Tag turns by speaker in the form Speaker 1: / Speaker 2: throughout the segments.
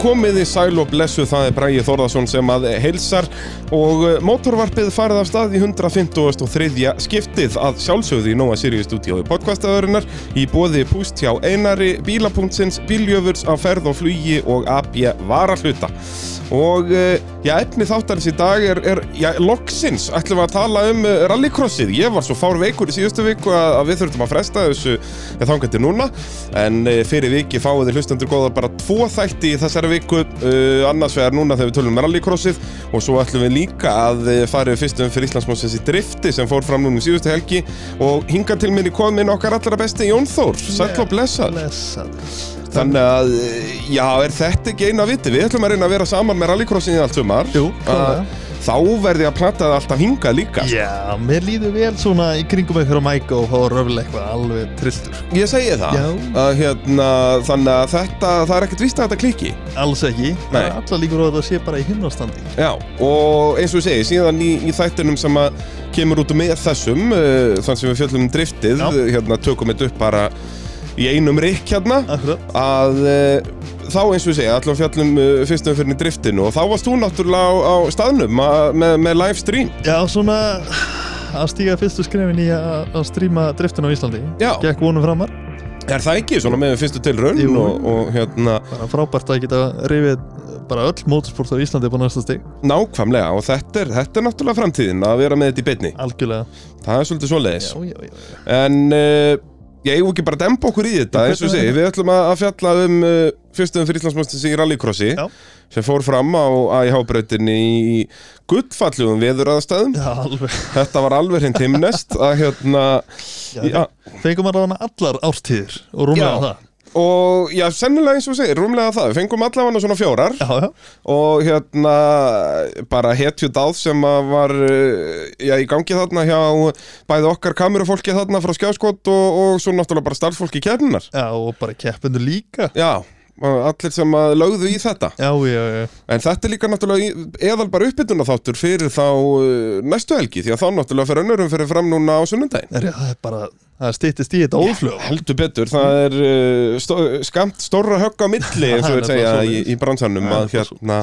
Speaker 1: komiði sæl og blessu það er Bræði Þórðarsson sem að heilsar og eh, mótorvarpið farið af stað í 153. skiptið að sjálfsögðu í Nóa Sirius stúdíói podcastaðurinnar í bóði púst hjá Einari, Bílapunktsins, Bíljöfurs á ferð og flugi og AB varahluta og eh, já, efni þáttarins í dag er, er já, loksins, ætlum við að tala um eh, rallycrossið, ég var svo fár veikur í síðustu viku að, að við þurftum að fresta þessu þangandi núna en eh, fyrir viki fáið þið hlustendur góða bara tvo þætti í þessari viku uh, annars vegar núna þegar við tölum með rallycrossið og svo ætlum við líka að eh, fara við fyrstum fyrir Íslandsmósins í drifti sem fór fram núna í síðustu helgi og hinga til minni komin okkar allra besti Jón Þór, sæll og blessað
Speaker 2: Blessaður.
Speaker 1: þannig að, eh, já, er þetta ekki eina viti við ætlum að reyna að vera saman með rallycrossið í allt sumar
Speaker 2: Jú,
Speaker 1: Að-
Speaker 2: klárlega.
Speaker 1: þá verði að planta það alltaf hingað líka
Speaker 2: Já, mér líður vel svona í kringum einhverja mæka og fá röfla eitthvað alveg trilltur.
Speaker 1: Ég segi það,
Speaker 2: Já.
Speaker 1: að hérna, þannig að þetta, það er ekkert víst að þetta klíki.
Speaker 2: Alls ekki.
Speaker 1: Nei.
Speaker 2: Alla líkur á að það sé bara í himnastandi.
Speaker 1: Já, og eins og ég segi, síðan í, í þættunum sem að kemur út með þessum, uh, þann sem við fjöllum um driftið,
Speaker 2: Já.
Speaker 1: uh, hérna tökum við upp bara í einum rikk hérna,
Speaker 2: Akkurat.
Speaker 1: að uh, þá eins og ég segi, allan fjöllum uh, fyrst um fyrir driftinu og þá varst þú náttúrulega á, á staðnum að- með, með live stream.
Speaker 2: Já, svona að stíga fyrstu skrefin í að, að stríma driftun á Íslandi.
Speaker 1: Já.
Speaker 2: Gekk vonum framar.
Speaker 1: Er það ekki svona með fyrstu tilraun
Speaker 2: Jú.
Speaker 1: og, og hérna
Speaker 2: Bara frábært að geta rifið bara öll mótorsport á Íslandi upp á næsta stig.
Speaker 1: nákvæmlega og þetta er, þetta er náttúrulega framtíðin að vera með þetta í beinni.
Speaker 2: Algjörlega.
Speaker 1: Það er svolítið svoleiðis.
Speaker 2: Já, já, já. já.
Speaker 1: En uh, ég eigum ekki bara að dempa okkur í þetta
Speaker 2: Já,
Speaker 1: eins og
Speaker 2: hvernig
Speaker 1: segi, við ætlum að að fjalla um uh, fyrstum fyrir Íslandsmóstins í rallycrossi
Speaker 2: Já.
Speaker 1: sem fór fram á AIH-brautinni í gullfallugum veðurraðastæðum
Speaker 2: Já, alveg.
Speaker 1: Þetta var alveg hreint himnest að hérna
Speaker 2: Já,
Speaker 1: Já.
Speaker 2: Fengum að rána allar ártíðir og rúmlega
Speaker 1: Já.
Speaker 2: það.
Speaker 1: og já, sennilega eins og segir, rúmlega það við fengum allavega svona fjórar
Speaker 2: Já, já.
Speaker 1: og hérna bara hetju dáð sem að var uh, já, í gangi þarna hjá bæði okkar kamerufólki þarna frá skjáskot og, og svo náttúrulega bara starffólki kjarnar
Speaker 2: Já, og bara keppendur líka.
Speaker 1: Já, allir sem að lögðu í þetta
Speaker 2: Já, já, já.
Speaker 1: En þetta er líka náttúrulega í- eðal bara uppbytuna þáttur fyrir þá uh, næstu helgi Því að þá náttúrulega fyrir önnurum fyrir fram núna á sunnundaginn
Speaker 2: Er, það er bara, það stýttist í þetta óflög
Speaker 1: Heldur betur, það er uh, stó skamt stórra högg á milli eins og
Speaker 2: Það er
Speaker 1: við segja
Speaker 2: bara
Speaker 1: í,
Speaker 2: svoleiðis.
Speaker 1: í bransanum
Speaker 2: Það er
Speaker 1: að
Speaker 2: bara
Speaker 1: hérna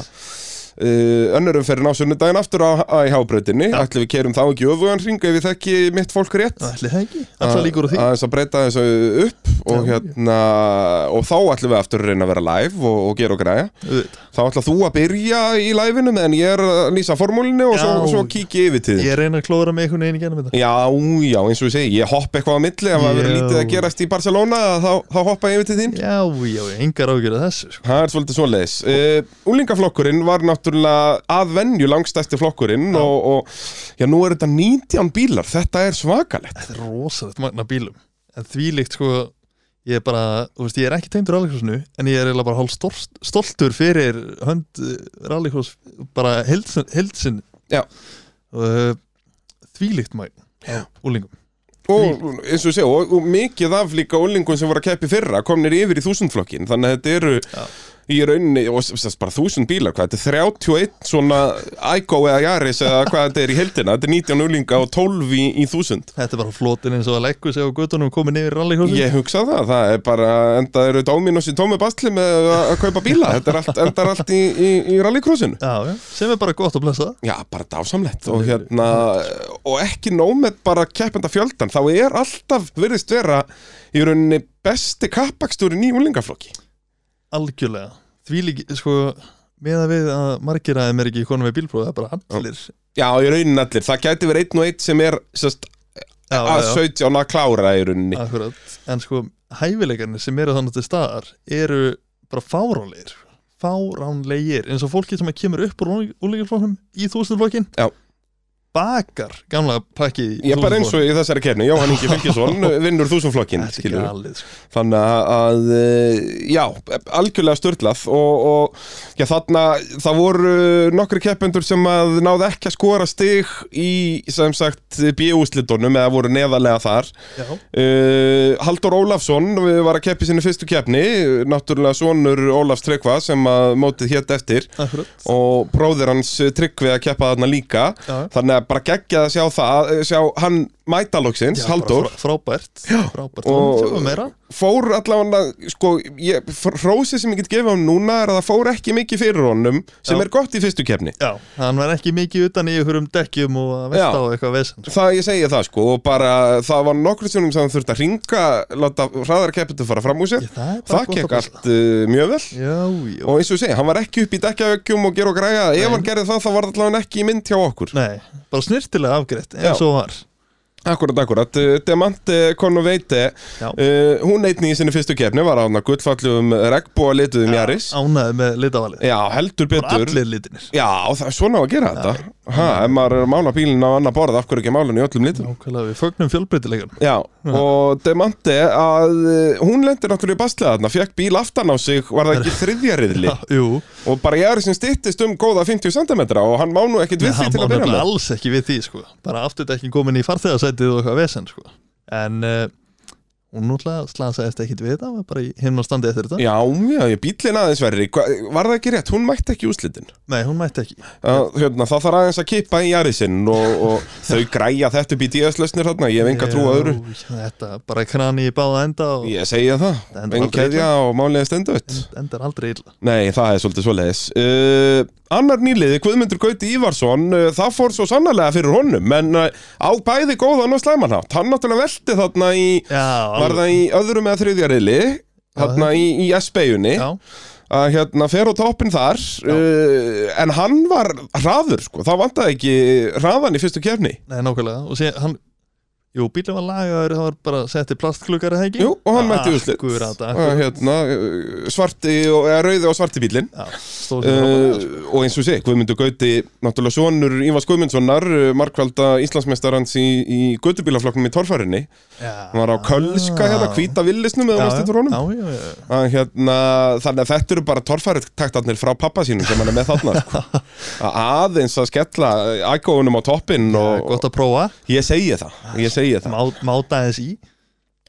Speaker 1: Uh, önnurum fyrir ná sunnudaginn aftur á AIH-brautinni Ætli við kerum þá ekki öfugan hringa ef við þekki mitt fólk rétt
Speaker 2: Ætli það ekki, alltaf líkur á því
Speaker 1: aðeins að breyta þessu upp og,
Speaker 2: Já, já.
Speaker 1: hérna, og þá ætlum við aftur að reyna að vera live og, og gera og græja
Speaker 2: Auðvitað.
Speaker 1: Þá ætla þú að byrja í læfinu meðan ég er að lýsa formúlinu og svo,
Speaker 2: Já.
Speaker 1: svo kíkja yfir til þín.
Speaker 2: Ég reyna að klóra með einhvern veginn í gennum þetta
Speaker 1: Já, já, eins og ég segi, ég hoppa eitthvað á milli ef það verður
Speaker 2: Já.
Speaker 1: lítið að gerast í Barcelona þá, þá hoppa ég yfir til þín.
Speaker 2: Já, já, já, engar ágjörðu þessu sko.
Speaker 1: Það er svolítið svoleiðis. Uh, Úlingaflokkurinn var náttúrulega að venju langstæsti flokkurinn og, og já, nú er þetta 19 bílar, þetta er svakalett.
Speaker 2: Þetta er rosalegt magna bílum En þvílíkt, sko, ég er bara Þú veist, ég er ekki teimdur rallycrossinu En ég er eiginlega bara hálf stort, stoltur fyrir Hönd eh, rallycross Bara heldsin, heldsin
Speaker 1: Já.
Speaker 2: uh, Þvílíkt magna Já, úlingum
Speaker 1: Og eins og ég segi, og, og mikið af líka úlingum sem voru að keppi fyrra komnir yfir í þúsundflokkin, þannig að þetta eru...
Speaker 2: Já.
Speaker 1: í rauninni, og sem sagt bara þúsund bílar hvað, þetta er 31 svona Igo eða Yaris eða hvað þetta er í heldina þetta er 19 úlinga og 12 í, í 1000
Speaker 2: Þetta er bara flotin eins og að leggu sig á göttunum Komin yfir rallycrossin
Speaker 1: ég hugsa það, það er bara enda eru Dominos í tómi basli með að- að kaupa bíla þetta er allt, enda er allt í, í, í rallycrossinu
Speaker 2: Já, já, sem er bara gott að blessa
Speaker 1: Já, bara dásamlegt og hérna og ekki nóg með bara keppenda fjöldan þá er alltaf virðist vera í rauninni besti kappakstúrin í úlingaflokki
Speaker 2: algjörlega því líki, sko með að við að margir aðeim er ekki konum við bílpróf það er bara allir já,
Speaker 1: Já, í rauninni allir, það gæti verið einn og einn sem er sest, að
Speaker 2: já, já,
Speaker 1: 17 að klára í rauninni
Speaker 2: akkurat en sko hæfileikarnir sem eru þannig til staðar eru bara fáránlegir sko. fáránlegir, eins og fólki sem kemur upp úr úlíkarflokkum í þúsundflokkin
Speaker 1: Já.
Speaker 2: bakar gamla pakki í
Speaker 1: Ég er bara eins
Speaker 2: þúsundflokkinn.
Speaker 1: og í þessari kernu, Jóhann Ingi Fylgjesson vinnur þúsumflokkin,
Speaker 2: Þetta er
Speaker 1: skilur við.
Speaker 2: galið, sko.
Speaker 1: Þannig að, að, eh, já, algjörlega störtlað og, og já, þarna, það voru nokkri keppendur sem að náðu ekki að skora stig í, sem sagt, B-úslitunum eða voru neðarlega þar
Speaker 2: Já,
Speaker 1: Uh, Haldur Ólafsson var að keppi sinni fyrstu keppni, náttúrulega sonur Ólafs Tryggva sem að mótið hétt eftir
Speaker 2: akkurat
Speaker 1: og bróðir hans eh, Tryggvi að keppa þarna líka
Speaker 2: Já.
Speaker 1: þannig að bara geggjað að sjá það sjá hann mætalóksins, Haldur
Speaker 2: bara frá- Frábært, frábært og
Speaker 1: Og-
Speaker 2: sjáum meira
Speaker 1: fór allavega, sko, ég, hrósi sem ég get gefið hann núna er að það fór ekki mikið fyrir honum sem
Speaker 2: Já.
Speaker 1: er gott í fyrstu kefni
Speaker 2: Já, hann var ekki mikið utan í ykkur um dekkjum og að
Speaker 1: Já.
Speaker 2: velta á eitthvað vesen sko.
Speaker 1: Það ég segja það sko og bara það var nokkur sjónum sem þurfti að ringa láta hraðara keppetu fara fram úr sér
Speaker 2: Ég, Það er bara
Speaker 1: það
Speaker 2: gott að
Speaker 1: kekk
Speaker 2: passa.
Speaker 1: allt uh, mjög vel
Speaker 2: Já, já,
Speaker 1: og eins og ég segja, hann var ekki upp í dekkjavökkjum og gera og græja
Speaker 2: Nei.
Speaker 1: ef hann gerði það þá var það allavega ekki í mynd hjá okkur
Speaker 2: nei, bara snirtilega afgreitt
Speaker 1: Já.
Speaker 2: eins og var
Speaker 1: Akkurat, akkurat, uh, Demante Konoveite
Speaker 2: Já.
Speaker 1: uh, hún eitni í sinni fyrstu kefni var án að gullfallum regnbúa lituðum Jaris
Speaker 2: Ánæði með litavalið
Speaker 1: Já, heldur
Speaker 2: Bara
Speaker 1: betur
Speaker 2: allir litinir
Speaker 1: Já, og það er svona á að gera þetta Ha, ef maður er að mála bílinn á annar borð af hverju ekki mála hann í öllum litum
Speaker 2: Nákvæmlega, við fögnum fjölbreytilegan
Speaker 1: Já, og Demante að eh, hún lendir náttúrulega í bastlega þarna, fekk bíl aftan á sig, var það ekki þriðja riðli
Speaker 2: Jú,
Speaker 1: og bara ég er sem styttist um góða 50 cm og hann má nú ekkit við því
Speaker 2: hann
Speaker 1: til
Speaker 2: má
Speaker 1: að byrja
Speaker 2: nefnilega
Speaker 1: með.
Speaker 2: alls ekki við því sko. bara afturdekkin komin í farþegarsætið og eitthvað vesen sko. en uh, hún náttúrulega slasaðist ekkit við það var bara í himn og standi eftir þetta
Speaker 1: Já, já, ég bílinn aðeins verri, Hva, var það ekki rétt, hún mætti ekki úslitin.
Speaker 2: nei, hún mætti ekki
Speaker 1: Uh, hérna, það þarf aðeins að kippa í jarisinn og, og þau græja þetta upp í DS-lausnir þarna, ég hef enga trú á
Speaker 2: Já,
Speaker 1: öðru.
Speaker 2: þetta, bara krani í báða enda og
Speaker 1: Ég segja það,
Speaker 2: Það endar
Speaker 1: en
Speaker 2: aldrei
Speaker 1: keðja og málega stenduðt.
Speaker 2: endar aldrei illa
Speaker 1: Nei, það er svolítið svoleiðis uh, Annar nýliði, Guðmundur Gauti Ívarsson uh, Það fór svo sannarlega fyrir honum En uh, á bæði góðan og slæmanhátt Hann náttúrulega velti þarna í
Speaker 2: já,
Speaker 1: Var það í öðrum eða þriðja reyli Þarna í, í SB-unni
Speaker 2: já,
Speaker 1: Að hérna fer á toppin þar uh, En hann var hraður sko Það vantaði ekki hraðan í fyrstu kefni
Speaker 2: nei, nákvæmlega og sé, hann, jú, bílum var lagaður það var bara setti plastklukar eða ekki Ah,
Speaker 1: Jú, og hann mætti úrslit
Speaker 2: Akkurat, akkurat.
Speaker 1: Að, hérna, uh, Svarti og, eða rauði og svarti bílinn
Speaker 2: já, stóð sér frábærlega, sko.
Speaker 1: Uh, og eins og sé, Guðmundur Gauti náttúrulega sonur Ívars Guðmundssonar uh, markvelda Íslandsmeistarans í, í gödubílaflokknum í torfærinni
Speaker 2: Já.
Speaker 1: hann var á Kölska hérna, hvíta villisnum
Speaker 2: Ah. Já,
Speaker 1: eða
Speaker 2: já,
Speaker 1: mæstu trónum
Speaker 2: já, já, já.
Speaker 1: hérna, þannig að þetta eru bara torfæritaktarnir frá pappa sínum sem hann er með þarna sko. Að aðeins að skella ægóunum á toppinn
Speaker 2: Það er
Speaker 1: og
Speaker 2: gott að prófa
Speaker 1: ég segi það ég segi það
Speaker 2: má, máta þess í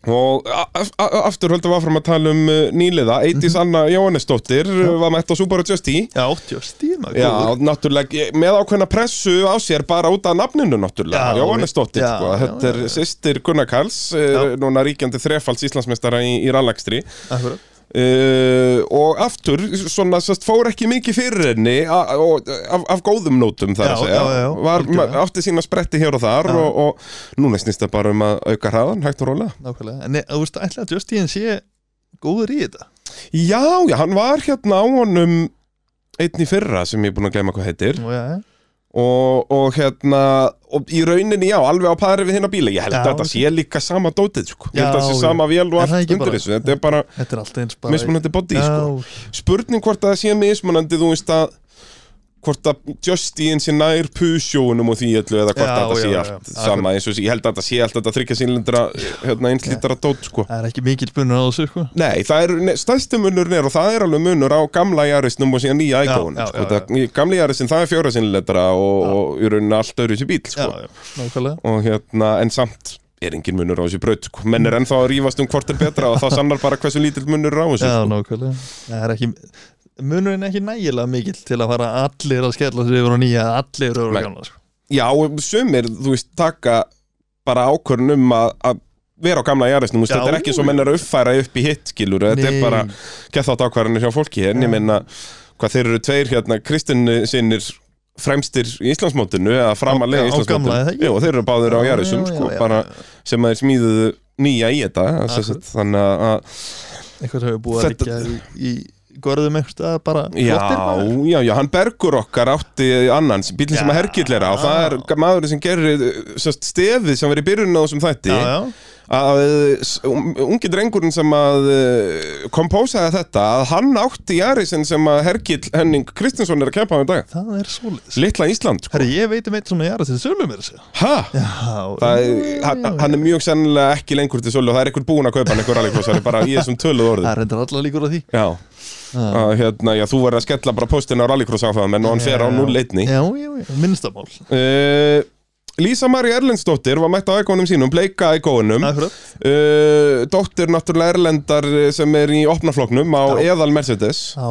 Speaker 1: Og a- a- aftur höldum við áfram að tala um uh, nýliða Eitís Anna Jóhannesdóttir uh, var mætt á Subaru Just-E
Speaker 2: Já, tjósti, maður
Speaker 1: Já,
Speaker 2: góður.
Speaker 1: náttúrulega, með ákveðna pressu á sér bara út af nafninu náttúrulega
Speaker 2: Já,
Speaker 1: Jóhannesdóttir,
Speaker 2: já,
Speaker 1: sko,
Speaker 2: já,
Speaker 1: þetta er
Speaker 2: já, já.
Speaker 1: systir Gunnar Karls uh, núna ríkjandi þrefalds Íslandsmeistara í, í rallakstri
Speaker 2: Akkurat.
Speaker 1: uh, og aftur, svona, sest, fór ekki mikið fyrir henni a- og- af, af góðum nótum þar
Speaker 2: Já,
Speaker 1: að segja
Speaker 2: já, já, já,
Speaker 1: Var,
Speaker 2: algjörlega.
Speaker 1: ma- átti sína spretti hér og þar
Speaker 2: Já.
Speaker 1: og, og núna snýst það bara um að auka hraðan, hægt og rólega
Speaker 2: Nákvæmlega, en eh, þú veist, ætla að Justin sé góður í þetta
Speaker 1: Já, já, hann var hérna á honum einn í fyrra sem ég er búin að gleyma hvað heitir
Speaker 2: Nú, já, já.
Speaker 1: og, og hérna og í rauninni já, alveg á pari við hérna bíla ég held
Speaker 2: Já,
Speaker 1: að þetta sé líka sama dótið sko. ég held að
Speaker 2: Já,
Speaker 1: þetta sé
Speaker 2: já.
Speaker 1: sama vél og
Speaker 2: Er það
Speaker 1: allt
Speaker 2: ekki
Speaker 1: undir
Speaker 2: bara-
Speaker 1: þessu þetta er bara
Speaker 2: Þetta er alltaf eins bara
Speaker 1: mismunandi body sko.
Speaker 2: Já,
Speaker 1: spurning hvort að það sé mismunandi þú veist að hvort að Justin sé nær pusjóunum og því öllu eða hvort
Speaker 2: Já,
Speaker 1: að þetta
Speaker 2: já,
Speaker 1: sé
Speaker 2: já,
Speaker 1: allt
Speaker 2: já.
Speaker 1: sama eins og ég held að þetta sé allt þetta þryggja sínlindra hérna einslítara dót sko
Speaker 2: það er ekki mikil bunnur á þessu sko
Speaker 1: Nei, það er ne- stærsti munurinn er og það er alveg munur á gamla jarisnum og síðan nýja
Speaker 2: Já,
Speaker 1: ægóunum
Speaker 2: já,
Speaker 1: sko.
Speaker 2: já,
Speaker 1: Það- í- Gamli jarisn það er fjóra sinnletra og, og í rauninni allt öðru sér bíl
Speaker 2: Já,
Speaker 1: sko.
Speaker 2: já, nákvæmlega
Speaker 1: og hérna, en samt er engin munur á þessu braut sko. menn er ennþá að rífast um hvort er betra og það sannar bara hversu lítill munur er á þessu
Speaker 2: Já,
Speaker 1: sko.
Speaker 2: nákvæmlega Það er ekki Munurinn ekki nægilega mikill til að fara allir að skella sig yfir og nýja allir yfir
Speaker 1: Nei.
Speaker 2: og gamla sko.
Speaker 1: Já, og sumir, þú veist, taka bara ákvörn um að, að vera á gamla jarisnum,
Speaker 2: Já,
Speaker 1: þetta er ekki
Speaker 2: jú,
Speaker 1: svo menn er að uppfæra upp í hitt, skilur, þetta er
Speaker 2: Nei.
Speaker 1: bara gett þátt ákvarðanir hjá fólki en ég minna hvað þeir eru tveir hérna Kristinn sinnir fremstir í Íslandsmótinu eða framalega
Speaker 2: Á-
Speaker 1: í
Speaker 2: á gamla, eða
Speaker 1: Íslandsmótinu
Speaker 2: ekki?
Speaker 1: Jú, og þeir eru báður á
Speaker 2: Já,
Speaker 1: Jarisum
Speaker 2: já, já,
Speaker 1: sko,
Speaker 2: já,
Speaker 1: bara sem að þeir smíðuðu nýja í þetta sem sagt, þannig að- að
Speaker 2: Eitthvað hefur búið að
Speaker 1: Þetta-
Speaker 2: liggja í, í Gorðum eitthvað bara flottir bara.
Speaker 1: já, já, já, hann bergur okkar átti annan bílinn sem að
Speaker 2: Já.
Speaker 1: hergill er á það er maður sem gerir sest, stefið sem verið í byrjun á þessum þætti
Speaker 2: Já, já,
Speaker 1: að s- um- ungi drengurinn sem að eh, kompósaði þetta að hann átti Jarisinn sem að Hergill Henning Kristinsson er að kempa um í dag
Speaker 2: það er svoleiðis
Speaker 1: Litla Ísland sko.
Speaker 2: Herri, ég veit um eitt svona jara til sölu mér að segja
Speaker 1: ha?
Speaker 2: Já,
Speaker 1: Það er, hann, hann er mjög sennilega ekki lengur til sölu og það er einhver búin að kaupa hann einhver rallycrossari bara í þessum töluð
Speaker 2: Það
Speaker 1: orðum
Speaker 2: er reyndar allar líkur á því
Speaker 1: Já,
Speaker 2: Já,
Speaker 1: að, hérna, já, þú verður að skella bara postin á rallycross áfæðum en hann fer á
Speaker 2: Já.
Speaker 1: 0-1
Speaker 2: já, já, já, minnsta mál
Speaker 1: uh, Lísa María Erlendsdóttir var mætt á ægónum sínum, bleika ægónum
Speaker 2: Það er fyrir
Speaker 1: uh, Dóttir náttúrulega Erlendar eh, sem er í opnafloknum á eðal Mercedes
Speaker 2: Á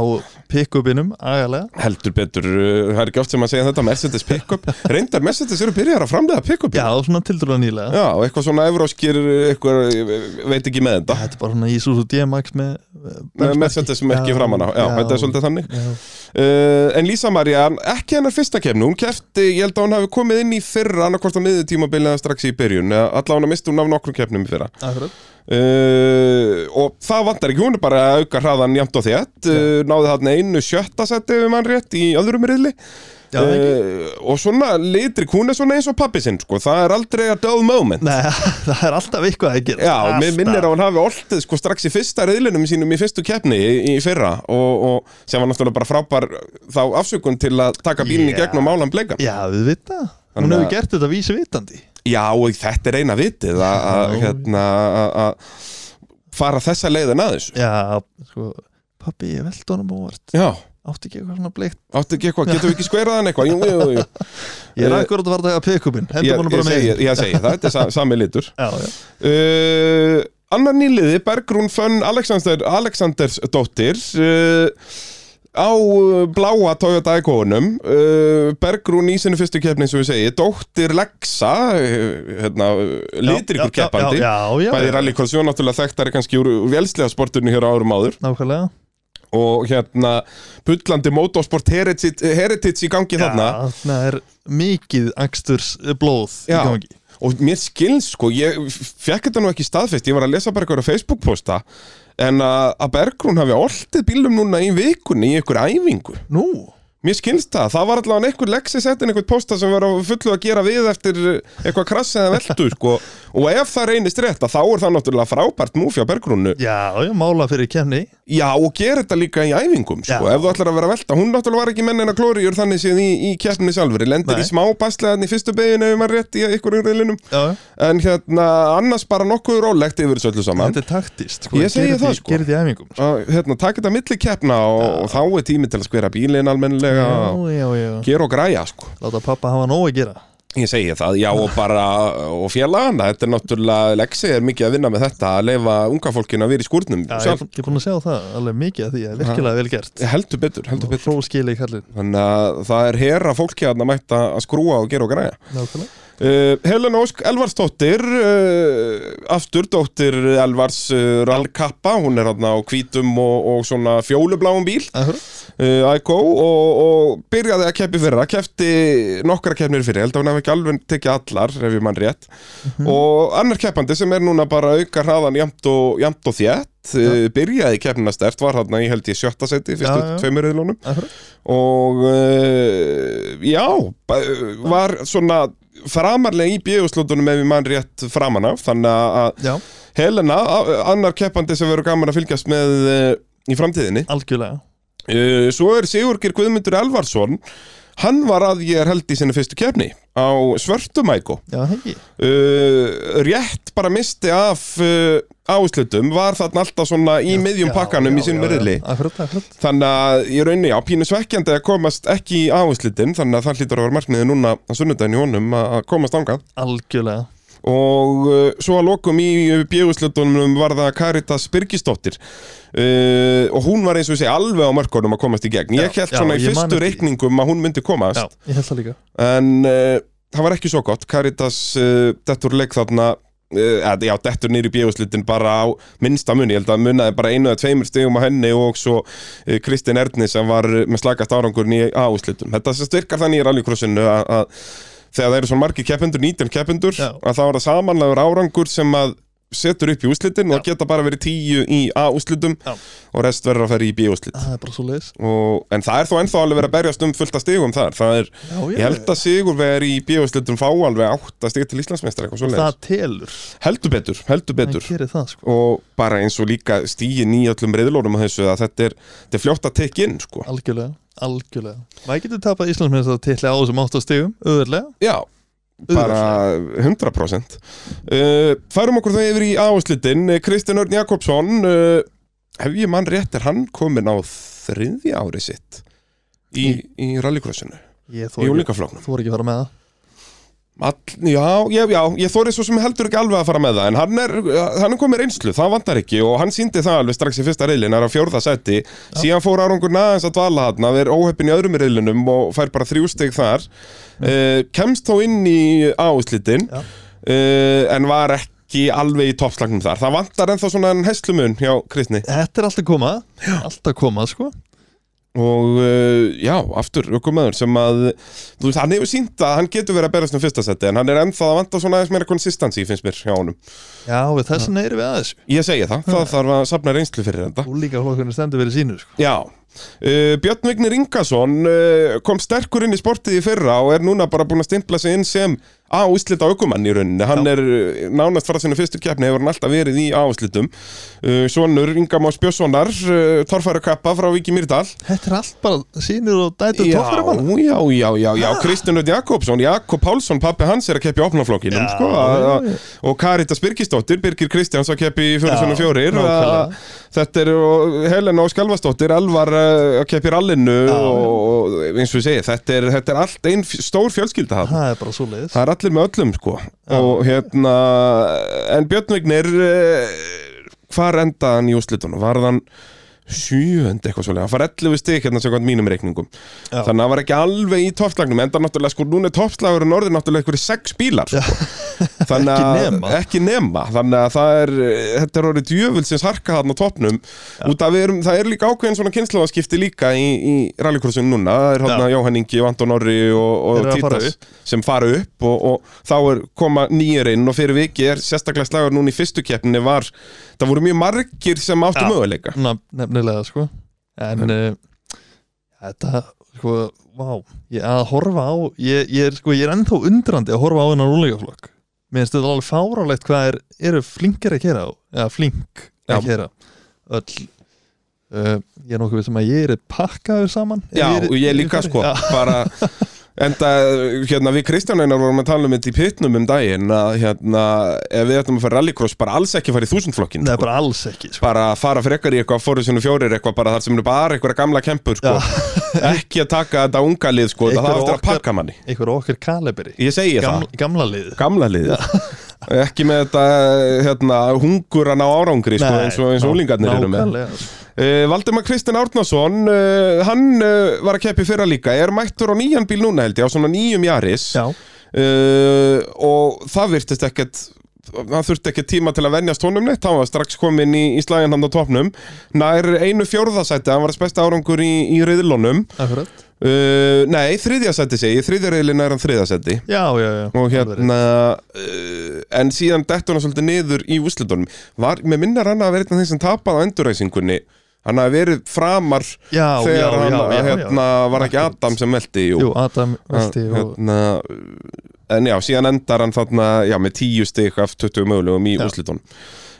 Speaker 2: pick-upinum, agalega
Speaker 1: Heldur betur, uh, það er ekki oft sem að segja þetta Mercedes pick-up, reyndar Mercedes eru byrjar að framlega pick-up
Speaker 2: Já, svona tildurlega nýlega
Speaker 1: Já, og eitthvað svona evróskir, eitthvað, ég veit ekki með þetta
Speaker 2: Þetta er bara svona Isuzu DMX með eh,
Speaker 1: Með Mercedes merki framan á, já, þetta er svolítið þannig
Speaker 2: já.
Speaker 1: Uh, en Lísa María, ekki hennar fyrsta kemni, hún kefti, ég held að hún hafi komið inn í fyrra annarkvort á miðið tímabilið eða strax í byrjun, eða allavega misti hún af nokkrum kemnum í fyrra.
Speaker 2: Akkurat.
Speaker 1: Uh, og það vantar ekki, hún er bara að auka hraðan jæmt og þétt, uh, náði þarna einu sjötta seti við mann rétt í öðrum riðli.
Speaker 2: Já, það er
Speaker 1: uh, og svona litrik, hún er svona eins og pappi sinn, sko, það er aldrei að dull moment.
Speaker 2: Nei, það er alltaf eitthvað að gera
Speaker 1: Já, mér minnir að hún hafi oltið sko strax í fyrsta reyðlinum sínum í fyrstu keppni í, í fyrra og, og sem var náttúrulega bara frábær eh, þá afsökun til að taka bílinn í
Speaker 2: Já.
Speaker 1: gegn og mála hann bleika.
Speaker 2: Já, við vita Hún
Speaker 1: Þannig að-
Speaker 2: hefur gert þetta vísi vitandi
Speaker 1: Já, og þetta er eina vitið að- að
Speaker 2: Já.
Speaker 1: hérna, að- að fara þessa leiðin að þessu.
Speaker 2: Já, sko Pappi, ég veldi honum óvart
Speaker 1: Já,
Speaker 2: Átti ekki eitthvað svona bleikt
Speaker 1: áttu ekki eitthvað, getum við ekki skverað hann eitthvað? Jú, jú, jú, jú.
Speaker 2: Ég er
Speaker 1: Eh,
Speaker 2: akkurat að fara að taka pick-upin
Speaker 1: Ég,
Speaker 2: Hendur honum
Speaker 1: ég,
Speaker 2: bara með
Speaker 1: segi, ég segi það, þetta er sa, sami litur.
Speaker 2: Já, já
Speaker 1: Uh, annar nýliði, Bergrún Fönn Alexander, Alexandersdóttir uh, á uh, bláa Toyota Iconum uh, Bergrún í sinni fyrstu keppni sem við segi, dóttir Lexa uh, hérna, uh, litrikur
Speaker 2: Já, já,
Speaker 1: keppandi
Speaker 2: Já, já, já,
Speaker 1: Bæði rallycross, jó náttúrulega þekktar kannski úr, úr vélslega sportunni hér á árum áður
Speaker 2: Nákvæmlega
Speaker 1: og hérna bullandi motorsport heritage, heritage í gangi þarna
Speaker 2: Já, það er mikið angsturs blóð í
Speaker 1: Já.
Speaker 2: gangi
Speaker 1: og mér skilns sko, ég fekk þetta nú ekki staðfest, ég var að lesa bara eitthvað á Facebook posta, en að, að Bergrún hafi oltið bílum núna í vikunni í einhver æfingu.
Speaker 2: Nú,
Speaker 1: Mér skilns það, það var allavega einhver Lexus eftir einhver posta sem var á fullu að gera við eftir eitthvað krass eða veldu sko, og ef það reynist rétt að þá er það náttúrulega frábært múfi á Bergrúnu
Speaker 2: já, já, mála fyrir kemni
Speaker 1: Já, og gera þetta líka í æfingum sko,
Speaker 2: Já.
Speaker 1: ef þú ætlar að vera að velta, hún náttúrulega var ekki mennina glóriur þannig séð í, í keppni sjálfur lendir
Speaker 2: Nei.
Speaker 1: í smá baslegaðan í fyrstu beginu ef maður rétt í ykkur yfirlinum
Speaker 2: Já,
Speaker 1: En hérna, annars bara nokkuð rólegt yfir þessu öllu saman
Speaker 2: þetta er taktist
Speaker 1: Ég segi
Speaker 2: gerði-
Speaker 1: það, sko.
Speaker 2: Gerði því æfingum sko.
Speaker 1: að, hérna, Takk þetta milli keppna og, og þá er tími til að skvera bílinn almennilega
Speaker 2: Já, já, já
Speaker 1: Gera og græja, sko
Speaker 2: Láta pappa hafa nóg að gera
Speaker 1: Ég segi það, já og bara og félagana, þetta er náttúrulega Lexi er mikið að vinna með þetta, að leifa unga fólkinu að vera í skúrnum
Speaker 2: já,
Speaker 1: sjálf.
Speaker 2: Ég ég er búin að sjá það alveg mikið að því að virkilega vel gert
Speaker 1: Heldur betur, heldur betur
Speaker 2: Hróskili kallin
Speaker 1: Þannig að það er herra fólki að mæta að skrúa og gera og græja
Speaker 2: Nákvæmlega
Speaker 1: Uh, Helen Ósk Elvarsdóttir uh, aftur dóttir Elvars uh, Rallkappa, hún er hann á hvítum og, og svona fjólubláum bíl
Speaker 2: Akkurat.
Speaker 1: uh, Aiko og, og byrjaði að keppi fyrra, keppti nokkra keppnir fyrir, held að hún hef ekki alveg tekið allar ef ég mann rétt
Speaker 2: Mhm.
Speaker 1: og annar keppandi sem er núna bara að auka hraðan jamt og, jamt og þétt uh, byrjaði keppnina stert, var hann í held ég sjötta seti, fyrstu
Speaker 2: Já, já.
Speaker 1: tveimur reyðlunum
Speaker 2: Akkurat.
Speaker 1: og uh, já, ba- var svona framarlega í bjöðuslótunum ef ég mann rétt framan af, þannig að
Speaker 2: Já,
Speaker 1: Helena, a- annar keppandi sem verður gaman að fylgjast með uh, í framtíðinni
Speaker 2: algjörlega
Speaker 1: Uh, Svo er Sigurgir Guðmundur Elvarsson Hann var að ég er held í sinni fyrstu kefni á Svörtumæko
Speaker 2: Já, hegi
Speaker 1: uh, Rétt bara misti af uh, áslutum Var þarna alltaf svona í miðjum pakkanum í sinni riðli
Speaker 2: Akkurat, akkurat
Speaker 1: Þannig að ég raunni á pínu svekkjandi að komast ekki í áslutin Þannig að það hlýtur að vera markmiði núna að sunnudaginn í honum að að komast angað
Speaker 2: Algjörlega
Speaker 1: og uh, svo að lokum í bjöguslutunum var það Karitas Birgisdóttir uh, og hún var eins og ég segi alveg á mörkunum að komast í gegn ég held
Speaker 2: Já, já,
Speaker 1: svona í
Speaker 2: ég man
Speaker 1: fyrstu
Speaker 2: eftir því.
Speaker 1: reikningum að hún myndi komast
Speaker 2: Já, ég held það líka
Speaker 1: en uh, það var ekki svo gott Karitas uh, dettur leik þarna Uh, eða, já, dettur niður í bjöðuslutin bara á minnsta muni, ég held að munaði bara einu eða tveimur stigum á henni og svo uh, Kristinn Erni sem var uh, með slagast árangurinn í áhuslutum. Þetta sem styrkar þannig í rallycrossinu að að þegar það eru svona margir keppendur, 19 keppendur
Speaker 2: Já.
Speaker 1: að þá er það samanlegur árangur sem að setur upp í úslitin og það geta bara verið 10 í A-úslitum
Speaker 2: Já.
Speaker 1: og rest verður að fara í B-úslit
Speaker 2: Það er bara svo leiðis
Speaker 1: og, en það er þó ennþá alveg verið að berjast um fullt að stigum þar, það er,
Speaker 2: Já,
Speaker 1: ég held að Sigur veri í bíóslutum fá alveg átt að stiga til Íslandsmeistra eitthvað svoleiðis,
Speaker 2: Það telur
Speaker 1: heldur betur, heldur
Speaker 2: Það
Speaker 1: betur
Speaker 2: gerir það, sko
Speaker 1: og bara eins og líka stígin í öllum reyðlónum að þessu að þetta er, þetta er fljótt að tekja inn sko.
Speaker 2: Algjörlega, algjörlega Maður getur tapað Íslandsmiðnast að titla á þessum 8 stigum Öðurlega,
Speaker 1: Já, bara 100% uh, Færum okkur þau yfir í áherslutin Kristján Örn Jakobsson uh, Hef ég mann rétt er hann komin á þriðja ári sitt í, í rallycrossinu,
Speaker 2: Ég
Speaker 1: í
Speaker 2: þóri ekki,
Speaker 1: úlingafloknum
Speaker 2: þori ekki að fara með það
Speaker 1: All, já, já, já, ég þorið svo sem heldur ekki alveg að fara með það en hann er, hann er komið reynslu, það vantar ekki og hann síndi það alveg strax í fyrsta reilin er á fjórða seti, síðan fór árangur aðeins að dvala hann, það er óheppin í öðrum reilinum og fær bara þrjú steg þar uh, kemst þó inn í áslítin
Speaker 2: Já.
Speaker 1: uh, en var ekki alveg í toppslagnum þar það vantar ennþá svona en heslumun hjá Kristni
Speaker 2: Þetta er alltaf koma, alltaf koma sko
Speaker 1: og uh, já, aftur ökumöður sem að, þú veist, hann hefur sínt að hann getur verið að berast um fyrsta seti en hann er ennþá að vanta svona aðeins meira konsistansi finnst mér hjá honum.
Speaker 2: Já, við þessan erum við að þessu
Speaker 1: Ég segi það, það þarf að safna reynslu fyrir þetta
Speaker 2: Úlíka flokkurinn stendur verið sínu sko
Speaker 1: Já Uh, Björn Vignir Ingason uh, kom sterkur inn í sportið í fyrra og er núna bara búin að stimpla sig inn sem áslita aukumann í rauninni hann er uh, nánast frá sinni fyrstu keppni hefur hann alltaf verið í áslitum uh, Svonur Ingamás Björnssonar uh, torfæra kappa frá Viki Mýrdal
Speaker 2: Þetta er allt bara sínur og dætur
Speaker 1: já,
Speaker 2: tófæra manna
Speaker 1: já, já, já, já Kristján Ödd Jakobsson, Jakob Pálsson pappi hans er að keppi opnaflokkinum
Speaker 2: Já,
Speaker 1: sko,
Speaker 2: já,
Speaker 1: a- a- og Karita Spirkisdóttir Birgir Kristjáns að keppi í
Speaker 2: Já,
Speaker 1: 44
Speaker 2: nákvæmlega.
Speaker 1: að- þetta er og Helena og Skalvastóttir Alvar uh, að keppi rallinu
Speaker 2: Já.
Speaker 1: og, og eins og ég segi, þetta er, þetta er allt einn f- stór fjölskylda hann
Speaker 2: Það er bara svo leiðis
Speaker 1: það er allir með öllum sko og hérna, en Björn Vignir uh, hvar endaði hann í úslitunum, var hann sjönd eitthvað svolítið, hann far 11 stig hérna sem mínum reikningum
Speaker 2: Já.
Speaker 1: þannig að hann var ekki alveg í toppslagnum enda náttúrulega sko, núna er toppslagurinn orðið náttúrulega einhverjir sex bílar sko. þannig
Speaker 2: Ekki
Speaker 1: að,
Speaker 2: nema.
Speaker 1: ekki nema þannig að það er, eh, þetta er orðið djöfulsins harka þarna á toppnum út af við erum, það er líka ákveðin svona kynnslóðaskipti líka í, í rallycrossum núna, það er hérna Jóhann Ingi og Anton Orri og,
Speaker 2: Þeir
Speaker 1: og
Speaker 2: eru að fara
Speaker 1: Títas sem fara upp og, og þá er koma nýjir inn og fyrir vikið er sérstaklega slagur núna í fyrstu keppninni var það voru mjög margir sem áttu
Speaker 2: Já.
Speaker 1: möguleika
Speaker 2: Na, Nefnilega sko En uh, þetta sko, vá Ég að horfa á, ég, ég, er, sko, ég er ennþá undrandi að horfa á hennar úlíka flokk Mér finnst þetta alveg fárálegt hvað er, eru flinkir að kera á Eða flink að
Speaker 1: Já.
Speaker 2: kera Öll uh, Ég er nokkuð við sem að ég er pakkaður saman ef
Speaker 1: Já,
Speaker 2: er-
Speaker 1: og ég líka
Speaker 2: fer-
Speaker 1: sko
Speaker 2: Já,
Speaker 1: bara enda hérna við Kristján Einar vorum að tala um þetta í pitnum um daginn að hérna ef við ætlum að fara rallycross bara alls ekki fara í þúsundflokkin
Speaker 2: Nei,
Speaker 1: sko.
Speaker 2: bara alls ekki sko.
Speaker 1: bara að fara frekar í eitthvað fóruðsynum fjórir eitthvað bara þar sem eru bara einhverja gamla kempur sko. ekki að taka þetta unga lið sko, það
Speaker 2: Einhverja
Speaker 1: þarf eftir að
Speaker 2: okkar-
Speaker 1: pakka manni
Speaker 2: Einhver okkar kalibri
Speaker 1: ég segi það
Speaker 2: gamla, gamla liðið
Speaker 1: gamla liðið ekki með þetta hérna, hungur að ná árangri sko, eins og, eins og úlingarnir eru með
Speaker 2: nákvæmlega, sko.
Speaker 1: uh, Valdemar Kristinn Árnason uh, hann uh, var að keppi fyrra líka er mættur á nýjan bíl núna held ég á svona nýjum jaris
Speaker 2: Já,
Speaker 1: uh, og það virtist ekkert hann þurfti ekki tíma til að venjast honum neitt hann var strax komin í, í slaginn hann á topnum nær einu fjórðasæti hann var að besta árangur í, í riðlunum
Speaker 2: akkurat
Speaker 1: uh, nei, þriðjasæti segi ég, þriðja riðlina er hann þriðjasæti
Speaker 2: Já, já, já
Speaker 1: og
Speaker 2: alveg rétt.
Speaker 1: hérna uh, en síðan dettur hann svolítið niður í úslitunum var, með minnar hann að vera einn af þeim sem tapaði á enduræsingunni hann hafi verið framar
Speaker 2: já, já,
Speaker 1: þegar hann
Speaker 2: já, já,
Speaker 1: hérna, var ekki
Speaker 2: Akkurat.
Speaker 1: Adam sem velti
Speaker 2: já.
Speaker 1: jú.
Speaker 2: Jú, Adam Vesti
Speaker 1: Að,
Speaker 2: og
Speaker 1: hérna, uh, en já, síðan endar hann þarna já, með tíu stygg af 20 mögulegum í
Speaker 2: Já.
Speaker 1: úslitunum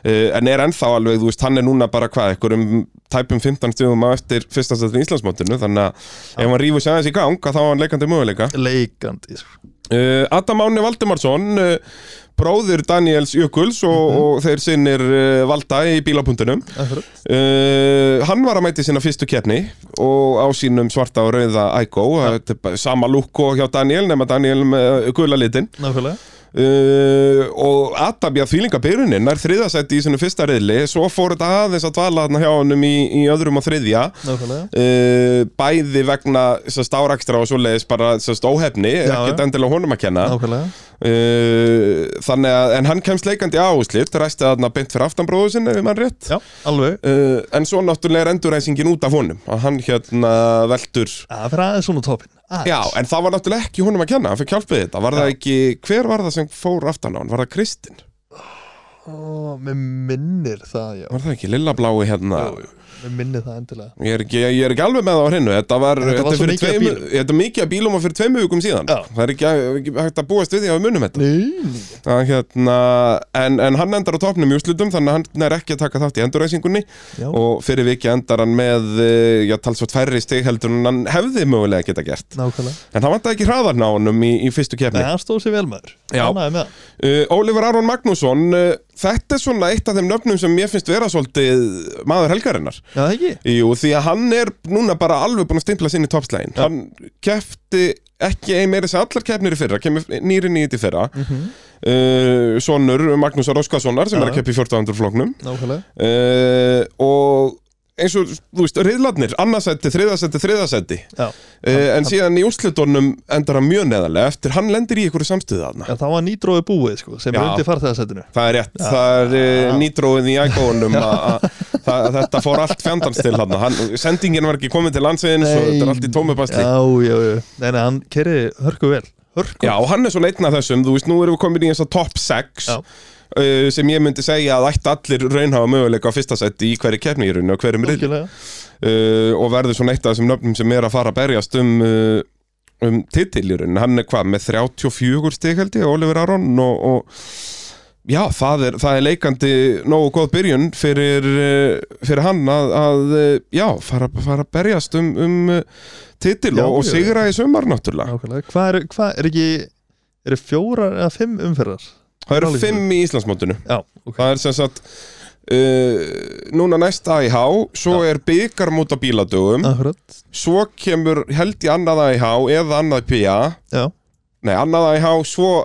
Speaker 1: Uh, en er ennþá alveg, þú veist, hann er núna bara hvað, einhverjum tæpum 15 stugum á eftir fyrsta stættin í Íslandsmótinu, þannig að ef hann rífur sér aðeins í gang, að þá var hann leikandi möguleika
Speaker 2: leikandi sko.
Speaker 1: Uh, Adam Áni Valdimarsson uh, bróðir Daniels Jökuls og,
Speaker 2: Mhm.
Speaker 1: og þeir sinnir uh, Valda í bílapunktunum
Speaker 2: Akkurat
Speaker 1: uh, hann var að mæti sína fyrstu keppni og á sínum svarta og rauða Ico, Þetta er bara sama lúk og hjá Daniel nema Daniel með uh, gula litin
Speaker 2: Nákvæmlega
Speaker 1: uh, og Adam bjá þvílinga byrjunin nær þriðasætti í sínum fyrsta reyðli svo fór þetta aðeins að dvala þarna hjá honum í, í öðrum og þriðja
Speaker 2: Nákvæmlega
Speaker 1: Uh, bæði vegna sérst, árakstra og svoleiðis bara sérst, óhefni,
Speaker 2: Já,
Speaker 1: ekkert
Speaker 2: já.
Speaker 1: endilega honum að kenna
Speaker 2: Nákvæmlega
Speaker 1: Uh, þannig að, en hann kemst leikandi á úslit, ræsti þarna beint fyrir aftanbróðu sinni, ef mann rétt
Speaker 2: Já, alveg
Speaker 1: uh, en svo náttúrulega er endurreisingin út af honum að hann hérna veldur
Speaker 2: Það fyrir aðeins svona topin
Speaker 1: já, en það var náttúrulega ekki honum að kenna, hann fyrir hjálpið þetta var það
Speaker 2: Já.
Speaker 1: ekki, hver var það sem fór aftan á hann, var það Kristinn,
Speaker 2: Ó, mér minnir það, já
Speaker 1: var það ekki Lilla Blái hérna
Speaker 2: Jú, jú, Mér minnir það endilega
Speaker 1: Ég er, ekki, ég er ekki alveg með það á hreinu Þetta var,
Speaker 2: En þetta
Speaker 1: er
Speaker 2: var svo
Speaker 1: fyrir
Speaker 2: mikið af
Speaker 1: tveimur-
Speaker 2: bílum.
Speaker 1: þetta er mikið að bílum og fyrir tveimu vikum síðan
Speaker 2: Já.
Speaker 1: Það er ekki, ekki hægt að búast við því að við munum þetta
Speaker 2: Nei
Speaker 1: að hérna, en, en hann endar á topnum í úslutum þannig að hann er ekki að taka þátt í endurræsingunni
Speaker 2: Já.
Speaker 1: og fyrir viki endar hann með eh, já, talsvort færri stig heldur en hann hefði mögulega geta gert
Speaker 2: Nákvæmlega
Speaker 1: en hann vantaði ekki hraðarn á honum í, í fyrstu
Speaker 2: Nei,
Speaker 1: kefni uh,
Speaker 2: hann stóð sér vel maður
Speaker 1: Já.
Speaker 2: Ánægður með það.
Speaker 1: Ólifur Aron Magnússon uh, þetta er svona eitt af þeim nöfnum sem mér finnst vera svolítið maður helgarinnar
Speaker 2: Já, það ekki
Speaker 1: Jú, því að hann er núna bara alveg búin að stimpla sinni toppslægin. Hann kefti ekki ein meira þess að allar keppnir í fyrra kemur nýri nýtt í fyrra
Speaker 2: mm -hmm.
Speaker 1: uh, Sónur Magnúsar Óskarssonar sem
Speaker 2: Já.
Speaker 1: er að keppa í 1400 flóknum
Speaker 2: Nákvæmlega
Speaker 1: uh, og eins og, þú veist, riðlarnir annarsætti, þriðasætti, þriðasætti
Speaker 2: Já.
Speaker 1: uh, en síðan í úrslitunum endar hann mjög neðarlega eftir hann lendir í einhverju samstöðu þarna
Speaker 2: En það var nýtróið búið sko, sem er
Speaker 1: Já.
Speaker 2: undir farþegarsætinu
Speaker 1: Það er rétt, það er uh, nýtróið í ægóunum að að þetta fór allt fjandans til hann. hann sendingin var ekki komin til landsveginn svo þetta er allt í tómubastli
Speaker 2: Já, já, já, nei, nei, hann kerði hörku vel Hörku,
Speaker 1: Já, og hann er svona einn af þessum, þú veist, nú erum við komin í þess að top 6
Speaker 2: Já.
Speaker 1: uh, sem ég myndi segja að ætti allir raunhafa möguleika á fyrsta seti í hverju keppni í rauninu og hverjum riðli
Speaker 2: algjörlega
Speaker 1: uh, og verður svona eitt af þessum nöfnum sem er að fara að berjast um, uh, um titil í rauninu hann er hvað, með 34 stig held ég, Oliver Aron og, og já, það er, það er leikandi nógu góð byrjun fyrir, uh, fyrir hann að, að uh, já, fara, fara að berjast um, um uh, titil
Speaker 2: Já,
Speaker 1: og, og
Speaker 2: já,
Speaker 1: sigra í sumar náttúrulega
Speaker 2: Nákvæmlega, hvað er, hva er ekki eru fjórar eða fimm umferðar?
Speaker 1: það
Speaker 2: Já,
Speaker 1: eru
Speaker 2: líka.
Speaker 1: fimm í Íslandsmótinu
Speaker 2: Já, ok
Speaker 1: Það er sem sagt uh, Núna næst AIH Svo er byggarmót á bíladögum
Speaker 2: Mm. Akkurat,
Speaker 1: Svo kemur held í annað AIH Eða annað PA
Speaker 2: já,
Speaker 1: Nei, annað AIH, svo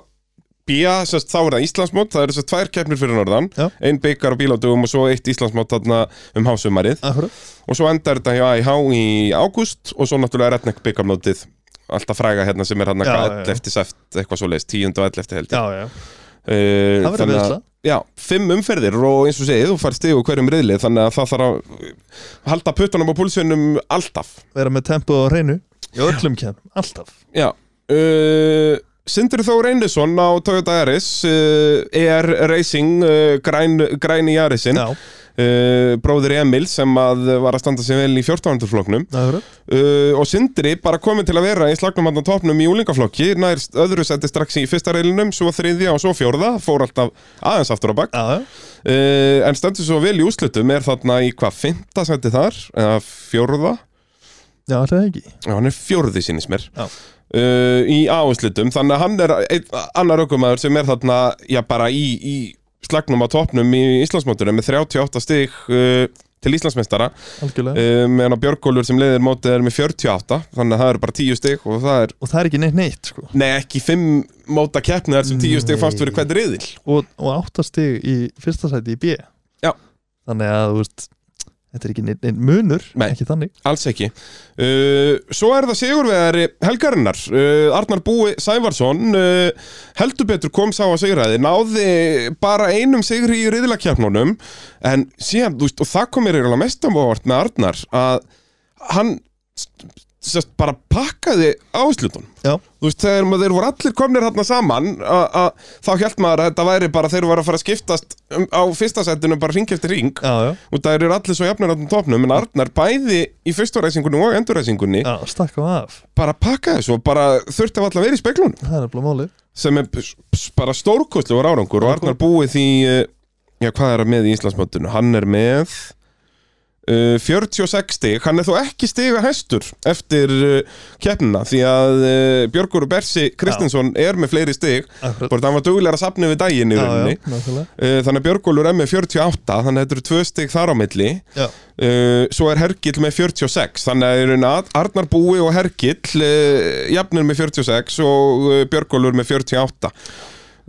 Speaker 1: BIA, sem sagt, þá er það Íslandsmót Það eru þess að tvær keppnir fyrir norðan
Speaker 2: Já.
Speaker 1: Ein byggar á bíladögum og svo eitt Íslandsmót Þarna um hásumarið
Speaker 2: akkurat
Speaker 1: Og svo endar þetta hjá AIH í ágúst Og svo náttúrulega Redneck byggarmótið Alltaf fræga hérna sem er hérna
Speaker 2: Já, já, já.
Speaker 1: 11 eftir sæft Eitthvað svo leist, 10 og 11 eftir held ég.
Speaker 2: Já, já,
Speaker 1: Eh,
Speaker 2: það verður
Speaker 1: þannig að-
Speaker 2: viðsla
Speaker 1: Já, fimm umferðir og eins og segið, þú fær stig og hverjum riðli þannig að það þarf að halda puttunum á púlsunum alltaf
Speaker 2: Verða með tempo á reynu Í öllum kjænum, alltaf
Speaker 1: Já uh, Sindri Þór Einarsson á Toyota Yaris uh, ER Racing uh, græn, græni Yarisinn
Speaker 2: Já,
Speaker 1: uh, bróðir Emil sem að var að standa sig vel í 14. floknum
Speaker 2: akkurat
Speaker 1: uh, og Sindri bara komin til að vera í slagnum hann á topnum í úlingaflokki nær öðru seti strax í fyrsta reilinum svo þriðja og svo fjórða, fór alltaf aðeins aftur á bak
Speaker 2: Já, já,
Speaker 1: Uh, en stendur svo vel í úslutum er þarna í hvað, fymta seti þar eða fjórða,
Speaker 2: já, það er ekki
Speaker 1: já hann er fjórði sínist mér
Speaker 2: Já.
Speaker 1: uh, í áherslutum þannig að hann er einn annar aukumæður sem er þarna, já bara í, í slagnum á topnum í Íslandsmótunum með 38 stig uh, til Íslandsmeistara uh,
Speaker 2: Algjörlega
Speaker 1: meðan að Björgólfur sem leiðir mótið er með 48 þannig að það eru bara 10 stig og það er
Speaker 2: Og það er ekki neitt neitt, sko
Speaker 1: Nei, ekki fimm móta keppnir sem tíu stig
Speaker 2: Nei.
Speaker 1: fannst fyrir hvern riðil
Speaker 2: og, og áttastig í fyrsta sæti í B
Speaker 1: Já.
Speaker 2: Þannig að, þú veist Þetta er ekki neitt, neitt munur,
Speaker 1: Nei.
Speaker 2: ekki þannig
Speaker 1: Alls ekki. Uh, svo er það sigurveðari helgarinnar. Uh, Arnar Búi Sævarsson uh, heldur betur kom sá að sigraði, náði bara einum sigri í riðlakjarnunum en síðan, þú veist, og það komir eiginlega mest á óvart með Arnar að hann st- sest, bara pakkaði áslutun.
Speaker 2: Já.
Speaker 1: Þú veist, þegar maður þeir voru allir komnir hérna saman að að þá hjælt maður að þetta væri bara þeir voru að fara að skiptast um, á fyrsta setinu bara ring eftir ring
Speaker 2: Já, já,
Speaker 1: og það eru allir svo jafnir á þeim topnum en Arnar bæði í fyrstu reysingunni og endurreysingunni
Speaker 2: já, stakka af
Speaker 1: bara pakka þessu og bara þurfti að alltaf vera í speklunum
Speaker 2: Það er nefnilega málið
Speaker 1: sem er s- s- bara stórkostlegur árangur og Arnar búið því eh, já hvað er hann með í Íslandsmöndunum hann er með uh, 46 stig, hann er þó ekki stiga hæstur eftir uh, keppnina því að uh, Björgur Bersi Kristinsson er með fleiri stig
Speaker 2: Akkurat
Speaker 1: bara hann var duglegar að safna við daginn í
Speaker 2: Já, já,
Speaker 1: rauninni
Speaker 2: nákvæmlega
Speaker 1: Uh, Þannig að Björgólfur er með 48 þannig að þetta eru tvö stig þar á milli
Speaker 2: Já,
Speaker 1: Uh, svo er Hergill með 46 þannig að í rauninni Ar- Arnar Búi og Hergill uh, jafnir með 46 og uh, Björgólfur með 48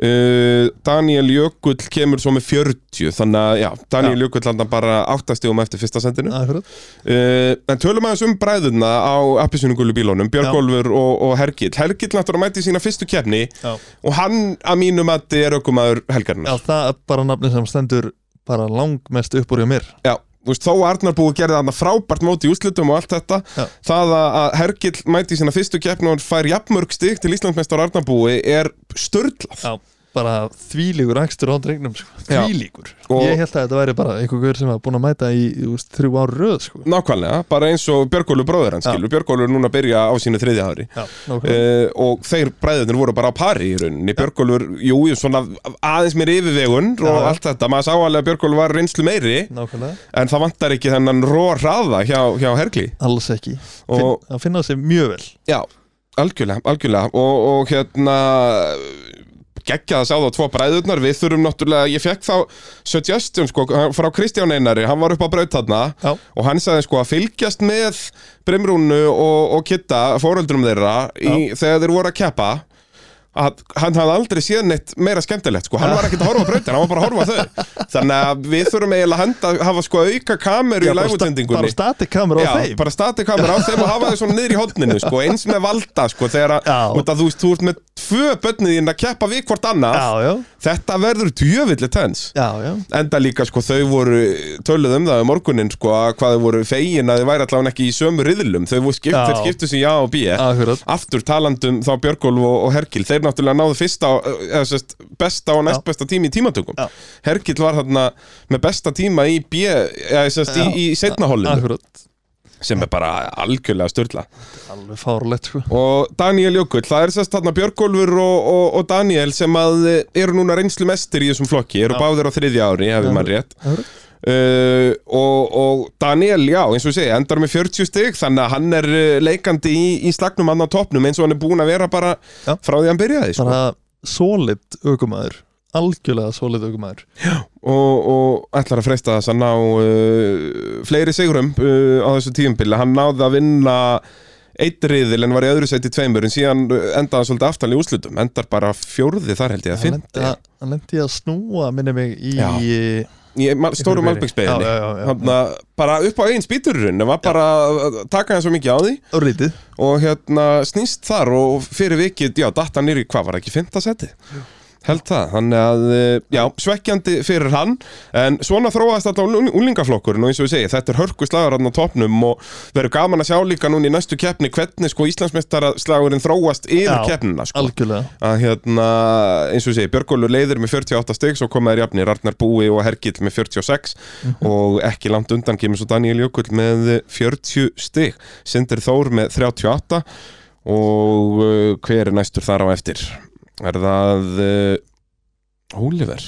Speaker 1: uh, Daniel Jökull kemur svo með 40 þannig að já, Daniel Jökull landa bara 8 stigum eftir fyrsta sendinu uh,
Speaker 2: akkurat
Speaker 1: en tölum aðeins um bræðuna á appisunugulu bílónum, Björgólfur og, og Hergill Hergill náttúrulega mæti í sína fyrstu kefni
Speaker 2: Já.
Speaker 1: og hann að mínu mati er aukumæður helgarinnar
Speaker 2: Já, það er bara nafni sem stendur bara langmest upp úr hjá mér
Speaker 1: Já, þú veist, þó að Arnar búið gerði þarna frábært móti í úslitum og allt þetta
Speaker 2: Já.
Speaker 1: það að að Hergill mæti í sína fyrstu keppn og fær jafnmörg stig til Íslandsmeistar Arnar búi er störtlað
Speaker 2: Já, bara þvílíkur akstur á drengnum sko.
Speaker 1: Já.
Speaker 2: Þvílíkur
Speaker 1: Og-
Speaker 2: Ég held að þetta væri bara einhver gaur sem var búin að mæta í þú veist, þrjú ár röð sko.
Speaker 1: Nákvæmlega, bara eins og Björgólu bróður hans
Speaker 2: Já.
Speaker 1: skilur, Björgólu er núna að byrja á sínu þriðja ári
Speaker 2: Já, nákvæmlega.
Speaker 1: uh, og þeir bræðurnir voru bara á pari í rauninni, Björgólfur, jú, jú, svona aðeins mér yfirvegun og
Speaker 2: Já.
Speaker 1: allt þetta maður sá alveg að Björgólfur var reynslu meiri
Speaker 2: nákvæmlega
Speaker 1: en það vantar ekki þennan rór hraða hjá, hjá Hergli
Speaker 2: Alls ekki
Speaker 1: Og-
Speaker 2: Finn, Það finna sig mjög vel
Speaker 1: Já, algjörlega, algjörlega og, og hérna geggjað að sjá þá tvo bræðurnar Við þurfum náttúrulega, ég fekk þá suggestion sko frá Kristján Einari Hann var upp á braut þarna
Speaker 2: Já.
Speaker 1: og hann sagði sko að fylgjast með Brimrúnu og, og Kitta, fóreldrum þeirra í, Þegar þeir voru að keppa að hann hafði aldrei séð neitt meira skemmtilegt sko, hann var ekkert að horfa á brautin, hann var bara að horfa á þau þannig að við þurfum eiginlega að henda, hafa sko auka kameru í
Speaker 2: bara sta- bara
Speaker 1: lægutendingunni
Speaker 2: static kamera á
Speaker 1: Já,
Speaker 2: þeim
Speaker 1: bara stati kamera á þeim og hafa þau svona niður í hodninu sko, eins með valda sko, þegar
Speaker 2: Já.
Speaker 1: að, út að þú veist, þú ert með tvö bönnið þín að keppa við hvort annað
Speaker 2: já, já,
Speaker 1: þetta verður djöfilli tens
Speaker 2: já, já,
Speaker 1: enda líka sko, þau voru töluð um það um morgunin sko, að hvað þau voru fegin að þau væri allavega ekki í sömu riðlum þau voru skipt,
Speaker 2: Já.
Speaker 1: þeir skiptu sem já og bí
Speaker 2: akkurat
Speaker 1: aftur talandum þá Björgólf og, og Hergil þeir náttúrulega náðu fyrsta og- eða, sest, besta og næst besta tími í tímatökum
Speaker 2: Já.
Speaker 1: Hergil var þarna með besta tíma í, B, eða, sest,
Speaker 2: Já.
Speaker 1: í, í setna holinu
Speaker 2: akkurat,
Speaker 1: sem er bara algjörlega styrla
Speaker 2: alveg fárlegt sko
Speaker 1: og Daniel Jökull, það er sérst þarna Björgólfur og, og, og Daniel sem að eh, eru núna reynslu mestir í þessum flokki eru
Speaker 2: Já.
Speaker 1: báðir á þriðja ári, ef
Speaker 2: Já.
Speaker 1: ég mann rétt
Speaker 2: Akkurat.
Speaker 1: uh, og, og Daniel, já, eins og ég segi, endar með 40 stig þannig að hann er eh, leikandi í, í slagnum hann á topnum eins og hann er búin að vera bara
Speaker 2: Já.
Speaker 1: frá því hann byrjaði sko.
Speaker 2: bara solid aukumæður algjörlega solid aukumæður
Speaker 1: og, og ætlar að freysta þess að ná uh, fleiri sigurum uh, á þessu tíumbili hann náði að vinna eitt riðil en var í öðru sæti tveimur en síðan uh, endaði hann svolítið aftan í úrslutum endar bara fjórði þar held ég að
Speaker 2: hann lendi
Speaker 1: finna
Speaker 2: að- hann lendi að snúa minni mig í
Speaker 1: Já. í ma-
Speaker 3: Einhverju
Speaker 1: stóru
Speaker 2: já,
Speaker 1: malbyggsbeginni
Speaker 2: já, já, já.
Speaker 1: bara upp á einn spýtururinn var bara að taka hann svo mikið á því
Speaker 2: Örlítið.
Speaker 1: og hérna snýst þar og fyrir vikið, já, datta nýri, hvað var það ekki, fymta seti? Held það, þannig að, eh, já, svekkjandi fyrir hann, en svona þróaðist allan unglingaflokkurinn og eins og ég segi, þetta er hörkuslagur hann á topnum og verður gaman að sjá líka núna í næstu keppni hvernig sko Íslandsmeistarslagurinn þróast yfir
Speaker 2: Já,
Speaker 1: keppnina, sko.
Speaker 2: algjörlega
Speaker 1: Að hérna, eins og ég segi, Björgólu leiðir með 48 stygg, svo komaður jafnir Arnar Búi og Hergill með 46 og ekki langt undan kemur svo Daniel Jökull með 40 stygg, Sindir Þór með 38 og uh, hver er næstur þar á eftir? Er það uh, Oliver?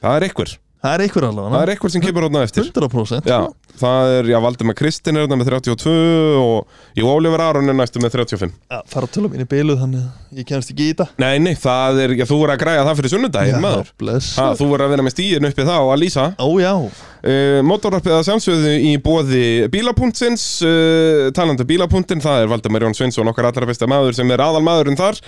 Speaker 1: Það er einhver,
Speaker 2: það er einhver allavega
Speaker 1: það er einhver sem kemur hóðna eftir
Speaker 2: 100%
Speaker 1: Já,
Speaker 2: sko.
Speaker 1: það er, já, Valdemar Kristinn er þarna með 32 og Jú, Oliver Aron er næstur með 35
Speaker 2: Já, fara tölum inn í bylið þannig að ég kemst ekki í þetta
Speaker 1: Nei, nei, það er, já, þú voru að græja það fyrir sunnudaginn, maður
Speaker 2: bless
Speaker 1: Ha, þú voru að vera með stíðin uppi þá að lýsa
Speaker 2: Ó já,
Speaker 1: uh, Mótorvarpið að sjálfsögðu í bóði bílapunktsins uh, talandi bílapunktin, það er Valdemar Jón Sveinsson okkar allra besta maður sem er aðal maðurinn þar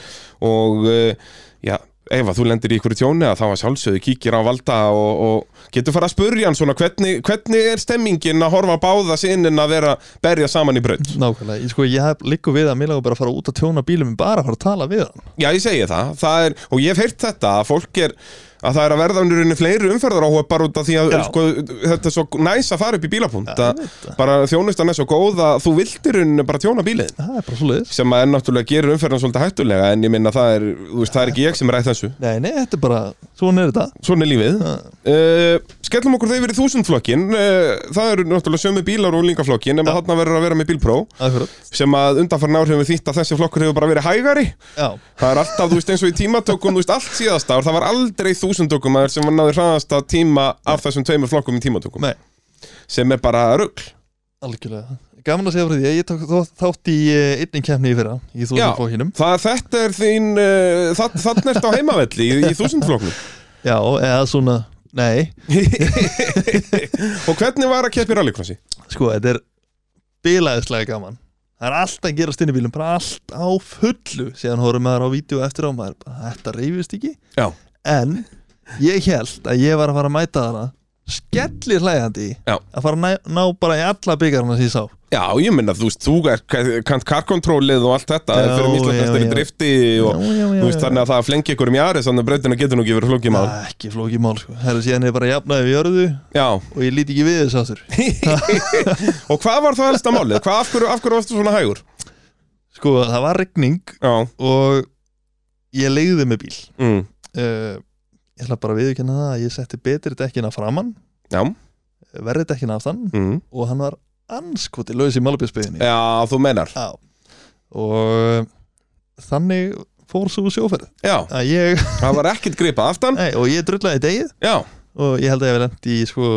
Speaker 1: og uh, já, ef að þú lendir í ykkur tjóni að þá að sjálfsögðu kíkir á Valda og, og getur fara að spurja hann svona hvernig, hvernig er stemmingin að horfa á báða sinnin að vera berja saman í braut
Speaker 2: nákvæmlega, ég, sko, ég hef liggur við að mér lagur bara að fara út að tjóna bílum en bara að fara að tala við hann
Speaker 1: Já, ég segi það, það er, og ég hef heyrt þetta að fólk er, að það er að verða um rauninni fleiri umferðar áhópar út af því að
Speaker 2: Já.
Speaker 1: sko, þetta er svo næs að fara upp í bílapunkt
Speaker 2: Já,
Speaker 1: að
Speaker 2: ég veit það.
Speaker 1: bara þjónustan er svo góð að þú vildir rauninni bara tjóna bílið
Speaker 2: það er bara svo leiðis
Speaker 1: sem að er náttúrulega gerir umferðan svolítið hættulega en ég minna það er, þú veist, það er ekki ég sem ræð þessu
Speaker 2: Nei, nei, þetta er bara, svona er þetta
Speaker 1: Svona er lífið uh, Skellum okkur þau verið þúsundflokkin uh, Það eru náttúrulega sömu bílar og úlingaflokkin en þarna verður að vera með bílpró
Speaker 2: Akkurat,
Speaker 1: sem að undanfarn ár hefur þýtt að þessi flokkur hefur bara verið hægari
Speaker 2: já,
Speaker 1: Það er alltaf, þú veist, eins og í tímatökum, þú veist, allt síðast ár, það var aldrei þúsundökum aður sem var náður hraðast að tíma af þessum tveimur flokkum í tímatökum,
Speaker 2: nei,
Speaker 1: sem er bara rugl.
Speaker 2: algjörlega Gaman að segja frá því að ég tók þó- þátt í eh, einni kemni í fyrra, í þúsundflokkinum
Speaker 1: Það, þetta er þín, uh, það, þannig ert á heimavelli í, í þúsundflokknum.
Speaker 2: Já, eða svona, nei
Speaker 1: Og hvernig var að keppa í rallycrossi?
Speaker 2: Sko, þetta er bilaðislega gaman Það er allt að gerast inn í bílum, bara allt á fullu Síðan horfum maður á vídeo eftir á maður bara, Þetta reyfist ekki
Speaker 1: Já.
Speaker 2: En ég held að ég var að fara að mæta þarna Skellir hlægandi
Speaker 1: Já.
Speaker 2: Að fara að ná, ná bara í alla byggarna sem ég sá
Speaker 1: Já, ég minna, þú veist, þú er kant karkontrólið og allt þetta,
Speaker 2: Já,
Speaker 1: það fyrir Íslandastur
Speaker 2: já,
Speaker 1: í
Speaker 2: já.
Speaker 1: drifti og,
Speaker 2: Já, já, já,
Speaker 1: þú veist,
Speaker 2: já.
Speaker 1: þannig að það að flengi ykkur um jari, þannig að breytina getur nú ekki verið flókið mál.
Speaker 2: Það er ekki flókið mál sko Það er síðan ég bara jafnaði við jörðu
Speaker 1: Já,
Speaker 2: og ég líti ekki við þessu aftur
Speaker 1: og hvað var það helsta málið? Hvað, af hverju, af hverju varstu svona hægur?
Speaker 2: Sko það var regning
Speaker 1: Já,
Speaker 2: og ég leiði með bíl
Speaker 1: mm,
Speaker 2: uh, Ég ætla bara að viðurkenna það að ég setti betri dekkina framann
Speaker 1: já,
Speaker 2: verri dekkina aftan
Speaker 1: mm.
Speaker 2: og hann var anskoti laus í malabjörnsbyðinni
Speaker 1: Já, þú menar
Speaker 2: Já og eh, þannig fór svo sjóferð
Speaker 1: Já,
Speaker 2: að ég,
Speaker 1: það var ekkert gripað aftan
Speaker 2: nei, og ég drullaði degið
Speaker 1: Já,
Speaker 2: og ég held að ég hef lent í sko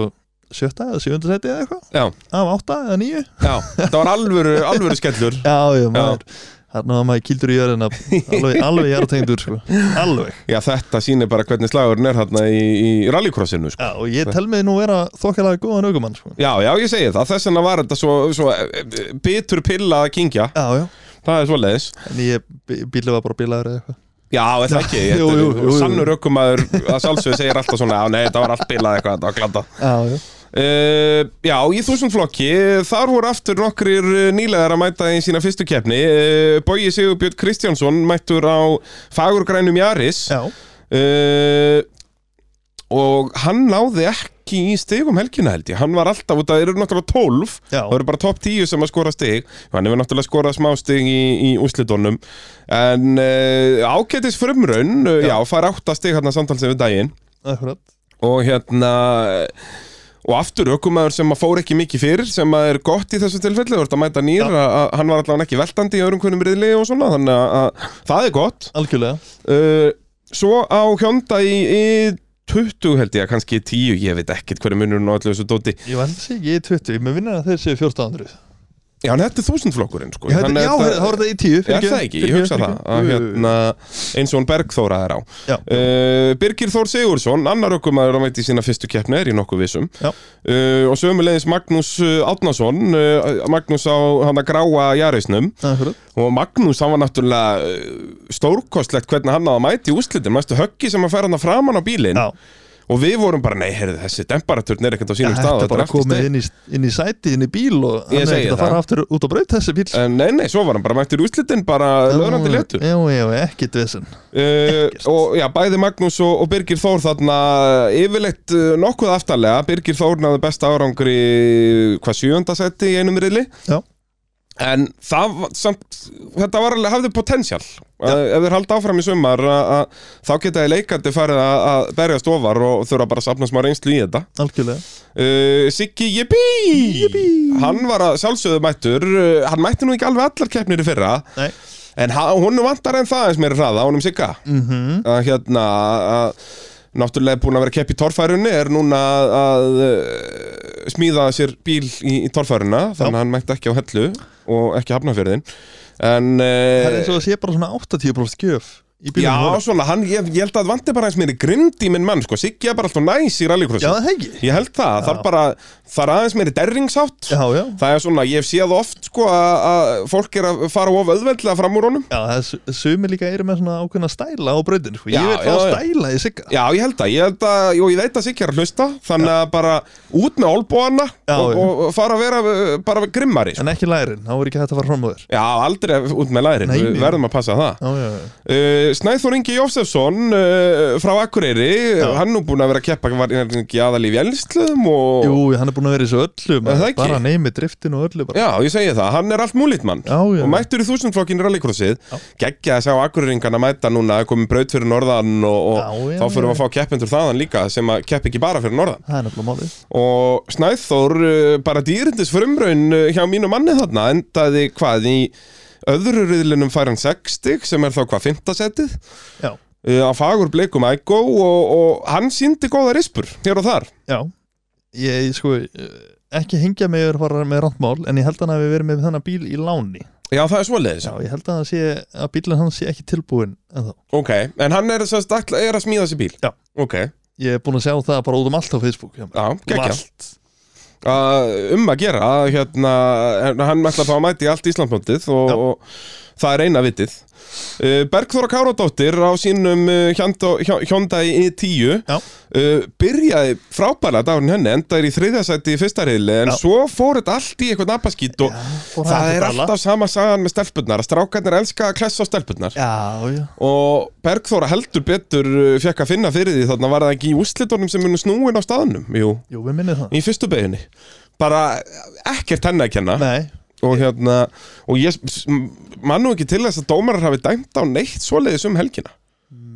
Speaker 2: sjötta eða sjöunda seti eða eitthvað
Speaker 1: Já.
Speaker 2: af átta eða nýju
Speaker 1: já, það var alvöru, alvöru skellur
Speaker 2: Já, já, maður Þarna var maður kildur í jörðina Alveg, alveg jarðtengdur sko Alveg
Speaker 1: Já, þetta sýnir bara hvernig slagurinn er hérna í, í rallycrossinu, sko.
Speaker 2: Já, og ég tel mig nú vera þokkalega góðan aukumann sko
Speaker 1: Já, já, ég segi það. Þess vegna var þetta svo, svo eh, eh, bitur pilla að kingja.
Speaker 2: Já, já
Speaker 1: Það er svo leiðis.
Speaker 2: En ég, bí- bílið var bara bílaður eða eitthvað
Speaker 1: Já, er það ekki.
Speaker 2: Jú, jú, jú, jú.
Speaker 1: Sannur ökkumæður að sálsöðu segir alltaf svona, já, nei, þetta var allt bilað eitthvað, þetta var glanda.
Speaker 2: Já, já
Speaker 1: Uh, já, í þúsundflokki eh, Þar voru aftur nokkrir eh, nýlegar að mæta í sína fyrstu keppni uh, Bogi Sigurbjörn Kristjánsson mættur á fagurgrænum Jaris uh,
Speaker 2: Já,
Speaker 1: Eh, Og hann náði ekki í stigum helgina held ég Hann var alltaf út að það eru náttúrulega 12
Speaker 2: já
Speaker 1: Það eru bara topp 10 sem að skora stig Hann hefur náttúrulega skorað smá stig í, í úslitónum En uh, ákettis frumraun uh, Já,
Speaker 2: Já.
Speaker 1: fær átta stig hérna samtalsið við daginn
Speaker 2: Akkurat
Speaker 1: og hérna og aftur ökumæður sem að fór ekki mikið fyrir sem að er gott í þessu tilfelli þú ert að mæta nýr, að, að hann var allavega ekki veltandi í öðrum kunnum riðli og svona þannig að, að það er gott
Speaker 2: Algjörlega
Speaker 1: uh, svo á Hjónda í, í 20 held ég, kannski 10 ég veit ekkert hverju munurinn á allu þessu dóti
Speaker 2: Ég var alls ekki í 20 Mér vinnar að þeir séu 1400
Speaker 1: já, en þetta er þúsundflokkurinn sko
Speaker 2: Já, þetta-
Speaker 1: Þannig
Speaker 2: já,
Speaker 1: að
Speaker 2: það var hérna- þetta í 10
Speaker 1: Er það ekki, ég hugsa það að, hérna, eins og hún Bergþóra er á
Speaker 2: Já.
Speaker 1: uh, Birgir Þór Sigursson annar ökumæður að mæti sína fyrstu keppni er í nokkuð vissum
Speaker 2: Já.
Speaker 1: uh, og sömulegis Magnús uh, Átnason uh, Magnús á hann að gráa Jarisnum
Speaker 2: Akkurat
Speaker 1: og Magnús hann var náttúrulega uh, stórkostlegt hvernig hann á að mæti úslitin mæstu höggi sem að færa hann að framan á bílinn
Speaker 2: Já
Speaker 1: og við vorum bara, nei, heyrðu, þessi demparaturn er ekkert á sínum stað
Speaker 2: Þetta
Speaker 1: þetta er
Speaker 2: bara
Speaker 1: allt í steik."
Speaker 2: komið inn í, inn í sæti, inn í bíl og
Speaker 1: Ég
Speaker 2: hann er
Speaker 1: segi
Speaker 2: ekkert að
Speaker 1: það. Eh,
Speaker 2: fara aftur út á braut þessi bíl
Speaker 1: En Nei, nei, svo var hann bara mættur úslitin bara löðrandi letur
Speaker 2: Já, já, ekkert vesen
Speaker 1: Uh,
Speaker 2: Ekkert.
Speaker 1: og já, bæði Magnús og, og Birgir Þór þarna yfirleitt uh, nokkuð aftarlega Birgir Þór náði besta árangri hvað sjööndasetti í einum riðli
Speaker 2: Já.
Speaker 1: en það var samt, þetta var alveg, hafði potensial uh, ef þeir halda áfram í sumar a, a, þá geta þeir leikandi farið a, að berjast ofar og þurfa bara að safna smá reynslu í þetta
Speaker 2: Algjörlega
Speaker 1: uh, Siggi Jibbi hann var að sjálfsögðu mættur uh, hann mætti nú ekki alveg allar keppnir í fyrra
Speaker 2: Nei
Speaker 1: en ha- honum vantar en það eins meira hraða honum Sigga
Speaker 2: mm
Speaker 1: að hérna að náttúrulega búin að vera kepp í torfærunni er núna að, að eh, smíða sér bíl í, í torfæruna þannig að hann mætti ekki á hellu og ekki hafnafjörðin en
Speaker 2: Það er eins
Speaker 1: uh,
Speaker 2: og það sé bara svona 80% gjöf í bílum
Speaker 1: já
Speaker 2: honum.
Speaker 1: svona hann, ég, ég held að það vanti bara eins meiri grind í minn mann sko, Siggi er bara alltaf næs í
Speaker 2: Já,
Speaker 1: rallycrossi
Speaker 2: það er ekki
Speaker 1: ég held það, það er
Speaker 2: Já.
Speaker 1: bara það er aðeins meiri derringsátt
Speaker 2: Já, já
Speaker 1: það er svona, ég hef séð oft sko að að fólk er að fara of auðveldlega fram úr honum
Speaker 2: Já, það er su- sumir líka eru með svona ákveðna stæla á brautin sko. Ég
Speaker 1: Já, já,
Speaker 2: vil fá
Speaker 1: já.
Speaker 2: stæla í sigga
Speaker 1: Já, ég held að, ég held að, jú, ég veit að Siggi er að hlusta Þannig að bara út með olbóana
Speaker 2: Já,
Speaker 1: og,
Speaker 2: já.
Speaker 1: og fara að vera uh, bara grimmari sko.
Speaker 2: En ekki lærin, þá er ekki hægt að fara fram á þér
Speaker 1: Já, aldrei út með lærin,
Speaker 2: Nei,
Speaker 1: við
Speaker 2: nei.
Speaker 1: verðum að passa það
Speaker 2: Já, já, já
Speaker 1: uh, Snæþór Ingi Jósefsson uh, frá Akureyri
Speaker 2: Já.
Speaker 1: Hann nú búinn að vera að keppa, var hann ekki aðal í vjælsluðum og...
Speaker 2: Jú, hann er búin að vera í þessu öllu
Speaker 1: Er það
Speaker 2: maður.
Speaker 1: ekki?
Speaker 2: Bara neymi driftin og öllu bara
Speaker 1: Já, ég segi það, hann er allt múlít mann
Speaker 2: Já, já.
Speaker 1: Og mættur í þúsundflokkinn í rallycrossið
Speaker 2: Já.
Speaker 1: Geggja að sjá Akureyringana mæta núna Komið braut fyrir norðan og, og
Speaker 2: Já, já,
Speaker 1: þá fyrir við að
Speaker 2: já.
Speaker 1: fá keppendur þaðan líka Sem að kepp ekki bara fyrir norðan
Speaker 2: Það er nefnilega málið
Speaker 1: og Snæþór uh, bara dýrindis frumraun uh, hjá mínu manni þarna endaði hvað í öðru riðlinum fær hann 60 sem er þá hvað fintasettið
Speaker 2: Já,
Speaker 1: uh, á fagur bleikum ægó og, og hann síndi góða rispur hér og þar
Speaker 2: já Ég, sko, eh, ekki hengja mig yfir að fara með randmál En ég held að hann hafi verið með þennan bíl í láni
Speaker 1: Já, það er svoleiðis.
Speaker 2: Já, ég held að, hann sé, að bílinn hans sé ekki tilbúin En þá
Speaker 1: Ok, en hann er, sest, all, er að smíða sér bíl?
Speaker 2: Já.
Speaker 1: Ok,
Speaker 2: Ég er búin að sjá það bara út um allt á Facebook hjá mér.
Speaker 1: já,
Speaker 2: Út um
Speaker 1: gekkja.
Speaker 2: allt
Speaker 1: Uh, um að gera, að, hérna, en hann ætla að fá að mæti í allt Íslandmótið
Speaker 2: Já.
Speaker 1: og, og það er eina vitið. Uh, Bergþóra Káradóttir á sínum uh, Hyundai i10
Speaker 2: Já.
Speaker 1: uh, byrjaði frábæla dagurinn henni, enda er í þriðasæti í fyrsta reyli, en
Speaker 2: Já.
Speaker 1: svo fór þetta allt í eitthvað nabaskýt
Speaker 2: Um
Speaker 1: og
Speaker 2: fór
Speaker 1: það
Speaker 2: hann
Speaker 1: er
Speaker 2: að tala.
Speaker 1: alltaf sama sagan með stelpunnar, að strákarnir elska að klessa á stelpunnar.
Speaker 2: Já, já
Speaker 1: Og Bergþóra heldur betur fekk að finna fyrir því þarna var það ekki í úslitunum sem munum snúin á staðnum, jú
Speaker 2: Jú, við minnið það
Speaker 1: í fyrstu beginni bara ekkert henni að kenna
Speaker 2: Nei,
Speaker 1: og hérna og ég s- m- man nú ekki til þess að dómarar hafi dæmt á neitt svoleiðis um helgina